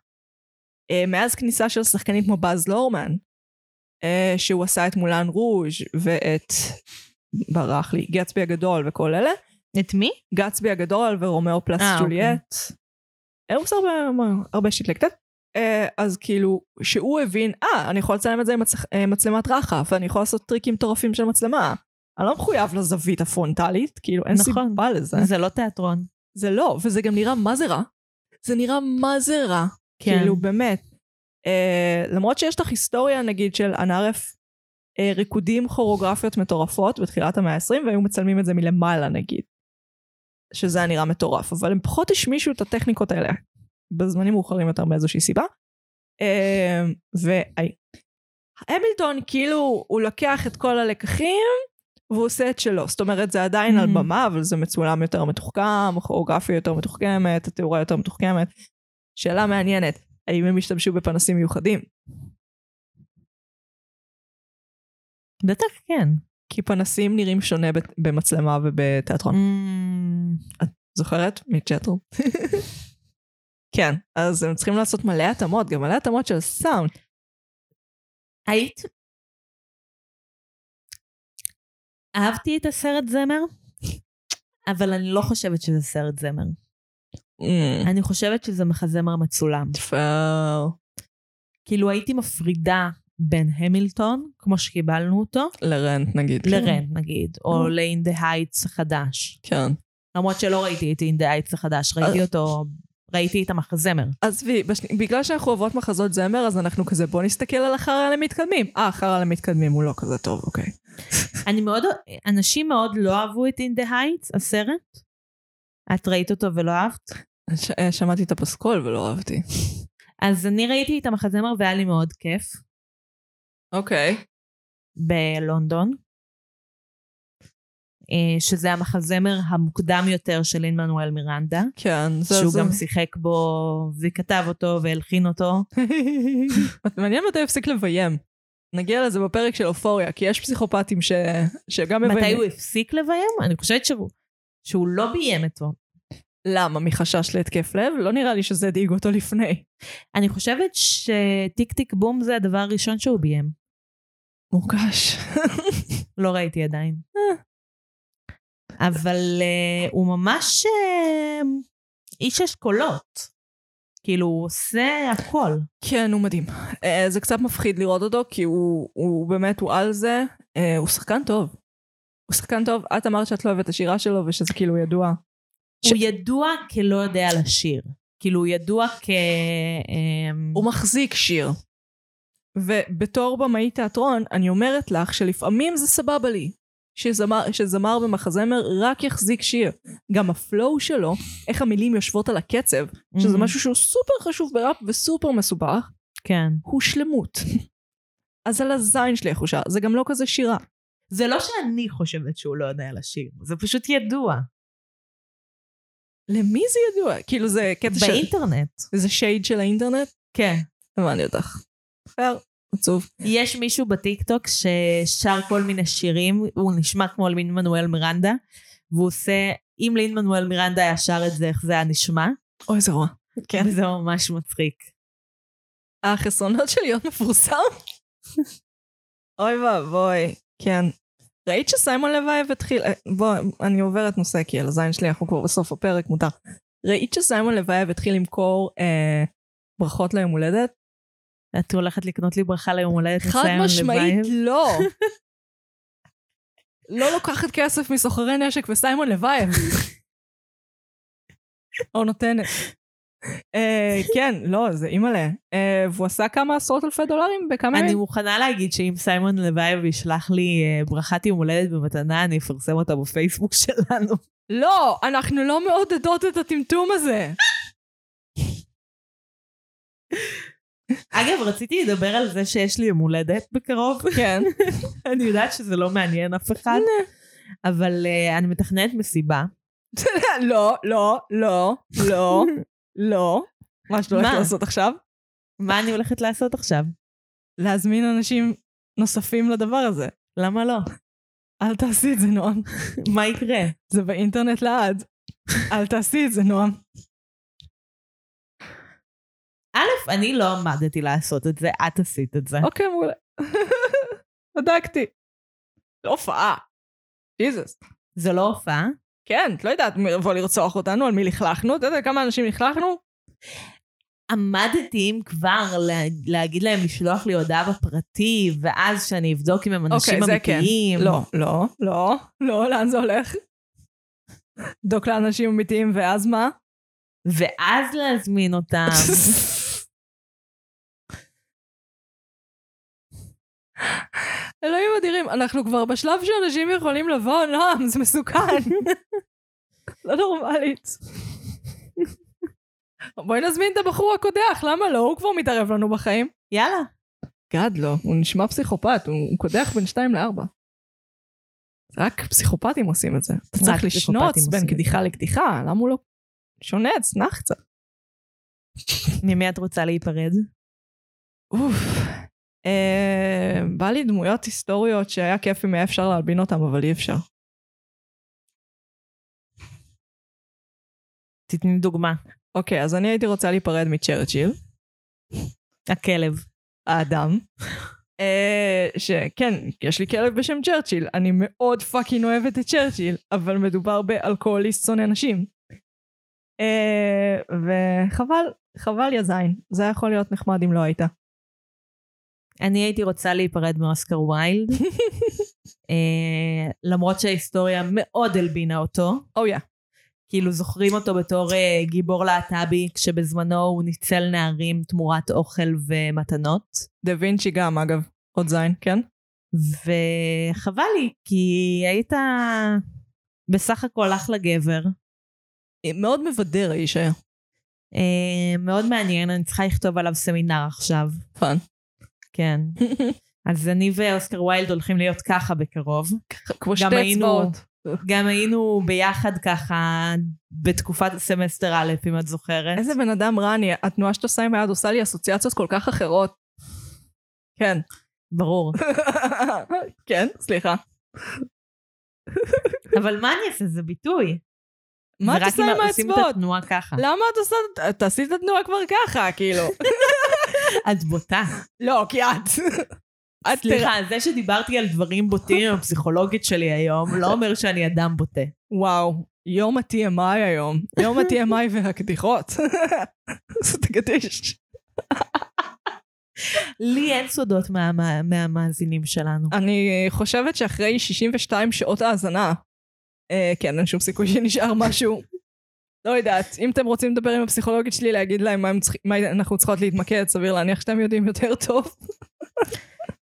A: אה, מאז כניסה של שחקנים כמו באז לורמן, אה, שהוא עשה את מולן רוז' ואת, ברח לי, גצבי הגדול וכל אלה,
B: את מי?
A: גצבי הגדול ורומאו פלס
B: אה,
A: ג'וליאט. אה, הוא עושה הרבה, הרבה שיט לקטט. אה, אז כאילו, שהוא הבין, אה, אני יכול לצלם את זה עם מצ... אה, מצלמת רחף, ואני יכול לעשות טריקים מטורפים של מצלמה. אני לא מחויב לזווית הפרונטלית, כאילו, אין
B: נכון.
A: סיבה לזה.
B: זה לא תיאטרון.
A: זה לא, וזה גם נראה מה זה רע. זה נראה מה זה רע.
B: כן.
A: כאילו, באמת. אה, למרות שיש לך היסטוריה, נגיד, של אנערף אה, ריקודים כוריאוגרפיות מטורפות בתחילת המאה ה-20, והיו מצלמים את זה מלמעלה, נגיד. שזה היה נראה מטורף, אבל הם פחות השמישו את הטכניקות האלה בזמנים מאוחרים יותר מאיזושהי סיבה. אה, והמילטון, כאילו, הוא לוקח את כל הלקחים, והוא עושה את שלו. זאת אומרת, זה עדיין על
B: Mhm.
A: במה, אבל זה מצולם יותר מתוחכם, הכוריאוגרפיה יותר מתוחכמת, התאורה יותר מתוחכמת. שאלה מעניינת, האם הם השתמשו בפנסים מיוחדים?
B: בטח כן.
A: כי פנסים נראים שונה בת- במצלמה ובתיאטרון.
B: Mm,
A: זוכרת? מצ'טרו. כן, אז הם צריכים לעשות מלא התאמות, גם מלא התאמות של סאונד.
B: היית? אהבתי את הסרט זמר, אבל אני לא חושבת שזה סרט זמר. אני חושבת שזה מחזמר מצולם.
A: כבר
B: כאילו הייתי מפרידה בין המילטון, כמו שקיבלנו אותו,
A: לרנט נגיד.
B: לרנט נגיד, או
A: כן. Mm.
B: ל-In the Heights החדש.
A: כן.
B: למרות שלא ראיתי את In the Heights החדש, ראיתי אותו, ראיתי את המחזמר.
A: עזבי, בש- בגלל שאנחנו עוברות מחזות זמר, אז אנחנו כזה, בוא נסתכל על החרא למתקדמים. אה, החרא למתקדמים הוא לא כזה טוב, אוקיי.
B: אני מאוד, אנשים מאוד לא אהבו את In the Heights, הסרט. את ראית אותו ולא אהבת?
A: ש- אה, שמעתי את הפסקול ולא אהבתי.
B: אז אני ראיתי את המחזמר והיה לי מאוד כיף
A: אוקיי.
B: בלונדון, אה, שזה המחזמר המוקדם יותר של לין מנואל מירנדה,
A: כן, זה...
B: שהוא
A: זה-
B: גם שיחק בו וכתב אותו והלחין אותו.
A: מעניין מתי הוא יפסיק לביים. נגיע לזה בפרק של אופוריה, כי יש פסיכופטים ש... שגם מביימים.
B: מתי הוא הפסיק לביים? אני חושבת שהוא, שהוא לא ביים אותו.
A: למה? מחשש להתקף לב? לא נראה לי שזה הדאיג אותו לפני.
B: אני חושבת שטיק טיק בום זה הדבר הראשון שהוא ביים.
A: מורגש.
B: לא ראיתי עדיין. אה. אבל אה, הוא ממש אה, איש אשכולות. כאילו, הוא עושה הכל.
A: כן, הוא מדהים. אה, זה קצת מפחיד לראות אותו, כי הוא, הוא באמת, הוא על זה. אה, הוא שחקן טוב. הוא שחקן טוב. את אמרת שאת לא אוהבת את השירה שלו, ושזה כאילו ידוע. ש-
B: הוא ידוע כלא יודע לשיר. כאילו, הוא ידוע כ... אה,
A: הוא מחזיק שיר. ובתור במאי תיאטרון, אני אומרת לך שלפעמים זה סבבה לי. שזמר, שזמר במחזמר רק יחזיק שיר. גם הפלואו שלו, איך המילים יושבות על הקצב, שזה
B: Mhm.
A: משהו שהוא סופר חשוב בראפ וסופר מסובך,
B: כן.
A: הוא שלמות. אז על הזין שלי איך הוא שר, זה גם לא כזה שירה.
B: זה לא שאני חושבת שהוא לא יודע לשיר, זה פשוט ידוע.
A: למי זה ידוע? כאילו זה קטע של...
B: באינטרנט.
A: זה שייד של האינטרנט?
B: כן.
A: הבנתי אותך. פייר. עצוב.
B: יש מישהו בטיקטוק ששר כל מיני שירים, הוא נשמע כמו לין מנואל מירנדה, והוא עושה, אם לין מנואל מירנדה היה שר את זה, איך זה היה נשמע?
A: אוי, זה רוע. כן.
B: וזה ממש מצחיק.
A: החסרונות של להיות מפורסם? אוי ואבוי. כן. ראית שסיימון לבייב התחיל... אה, בוא, אני עוברת נושא, כי על הזין שלי אנחנו כבר בסוף הפרק, מותר. ראית שסיימון לבייב התחיל למכור אה, ברכות ליום הולדת?
B: את הולכת לקנות לי ברכה ליום הולדת
A: חד
B: מסיים
A: משמעית
B: לבייב?
A: לא. לא לוקחת כסף מסוחרי נשק וסיימון לבייב. או נותנת. אה, כן, לא, זה אימא'לה. אה, והוא עשה כמה עשרות אלפי דולרים בכמה
B: אני
A: ימים.
B: מוכנה להגיד שאם סיימון לבייב ישלח לי אה, ברכת יום הולדת במתנה, אני אפרסם אותה בפייסבוק שלנו.
A: לא, אנחנו לא מעודדות את הטמטום הזה.
B: אגב, רציתי לדבר על זה שיש לי יום הולדת בקרוב.
A: כן.
B: אני יודעת שזה לא מעניין אף אחד, אבל אה, אני מתכננת מסיבה.
A: לא, לא, לא, לא, לא. מה שאת הולכת
B: מה?
A: לעשות עכשיו?
B: מה אני הולכת לעשות עכשיו?
A: להזמין אנשים נוספים לדבר הזה.
B: למה לא?
A: אל תעשי את זה, נועם.
B: מה יקרה?
A: זה באינטרנט לעד. אל תעשי את זה, נועם.
B: א', אני לא עמדתי לעשות את זה, את עשית את זה.
A: אוקיי, מעולה. בדקתי. זה הופעה. ג'יזוס.
B: זה לא הופעה?
A: כן, את לא יודעת מי יבוא לרצוח אותנו, על מי לכלכנו, אתה יודע כמה אנשים לכלכנו?
B: עמדתי אם כבר לה- להגיד להם לשלוח לי הודעה בפרטי, ואז שאני אבדוק אם הם אנשים
A: אוקיי, זה כן.
B: אמיתיים.
A: לא, לא, לא, לא, לאן זה הולך? דוק לאנשים אמיתיים, ואז מה?
B: ואז להזמין אותם.
A: אלוהים אדירים, אנחנו כבר בשלב שאנשים יכולים לבוא, נועם, זה מסוכן. לא נורמלית. בואי נזמין את הבחור הקודח, למה לא? הוא כבר מתערב לנו בחיים.
B: יאללה.
A: גד לא, הוא נשמע פסיכופת, הוא הוא קודח בין 2 ל-4. רק פסיכופטים עושים את זה. אתה צריך
B: פסיכופטים
A: לשנוץ
B: עושים
A: בין
B: את זה.
A: קדיחה לקדיחה, למה הוא לא... שונץ, נח קצת.
B: ממי את רוצה להיפרד?
A: אוף. אה, בא לי דמויות היסטוריות שהיה כיף אם היה אפשר להלבין אותן, אבל אי אפשר.
B: תתני דוגמה.
A: אוקיי, אז אני הייתי רוצה להיפרד מצ'רצ'יל,
B: הכלב.
A: האדם. אה, שכן, יש לי כלב בשם צ'רצ'יל, אני מאוד פאקינג אוהבת את צ'רצ'יל, אבל מדובר באלכוהוליסט שונא נשים. אה, וחבל, חבל יא זין, זה היה יכול להיות נחמד אם לא היית.
B: אני הייתי רוצה להיפרד מאוסקר ויילד, אה, למרות שההיסטוריה מאוד הלבינה אותו.
A: או יא.
B: כאילו זוכרים אותו בתור אה, גיבור להט"בי, כשבזמנו הוא ניצל נערים תמורת אוכל ומתנות.
A: דה וינצ'י גם, אגב. עוד זין, כן?
B: וחבל לי, כי היית בסך הכל אחלה גבר.
A: אה, מאוד מבדר האיש היה.
B: אה, מאוד מעניין, אני צריכה לכתוב עליו סמינר עכשיו.
A: פאן.
B: כן. אז אני ואוסקר ויילד הולכים להיות ככה בקרוב.
A: כמו
B: גם
A: שתי
B: היינו-
A: אצבעות.
B: גם היינו ביחד ככה בתקופת סמסטר א', אם את זוכרת.
A: איזה בן אדם רע אני, התנועה שאתה עושה עם היד עושה לי אסוציאציות כל כך אחרות. כן.
B: ברור.
A: כן, סליחה.
B: אבל מה אני אעשה? זה ביטוי.
A: מה
B: זה
A: את
B: רק
A: עושה
B: אם
A: עם
B: עושים את
A: האצבעות? לא.
B: התנועה ככה.
A: למה את עושה, תעשי את התנועה כבר ככה, כאילו.
B: את בוטה.
A: לא, כי את. את
B: סליחה,
A: תראה.
B: זה שדיברתי על דברים בוטים עם הפסיכולוגית שלי היום, לא אומר שאני אדם בוטה.
A: וואו, יום ה-TMI היום. יום ה-TMI והקדיחות. זה תקדיש.
B: לי אין סודות מה- מה- מהמאזינים שלנו.
A: אני חושבת שאחרי 62 שעות האזנה, אה, כן, אין שום סיכוי שנשאר משהו. לא יודעת, אם אתם רוצים לדבר עם הפסיכולוגית שלי, להגיד להם מה, הם צריכים- מה אנחנו צריכות להתמקד, סביר להניח שאתם יודעים יותר טוב.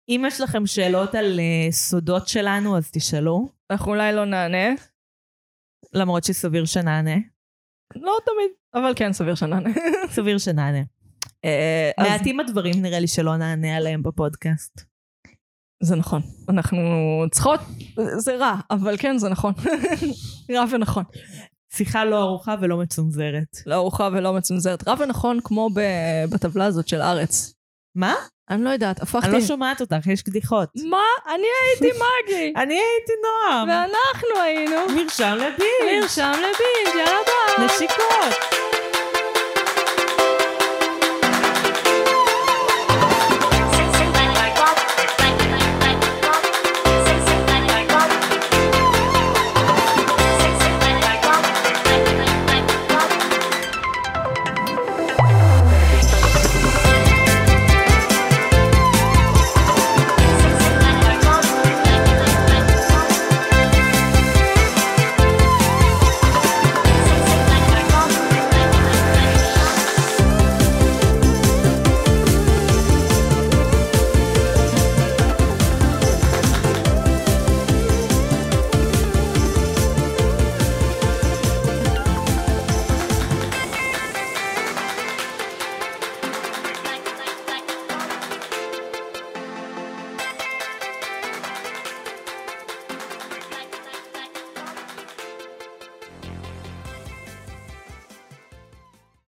B: אם יש לכם שאלות על אה, סודות שלנו, אז תשאלו,
A: אנחנו אולי לא נענה,
B: למרות שסביר שנענה.
A: לא תמיד, אבל כן, סביר שנענה.
B: סביר שנענה.
A: אה, אז-
B: מעטים הדברים נראה לי שלא נענה עליהם בפודקאסט.
A: זה נכון, אנחנו צריכות, זה רע, אבל כן, זה נכון. רע ונכון.
B: שיחה לא ארוכה ולא מצונזרת.
A: לא ארוחה ולא מצונזרת, רע ונכון כמו ב- בטבלה הזאת של ארץ.
B: מה?
A: אני לא יודעת,
B: אני לא
A: הפכתי...
B: שומעת אותך, יש קדיחות.
A: מה? אני הייתי מגי!
B: אני הייתי נועם.
A: ואנחנו היינו...
B: מרשם לבינג'.
A: נרשם לבינג', יאללה ביי!
B: נשיקות.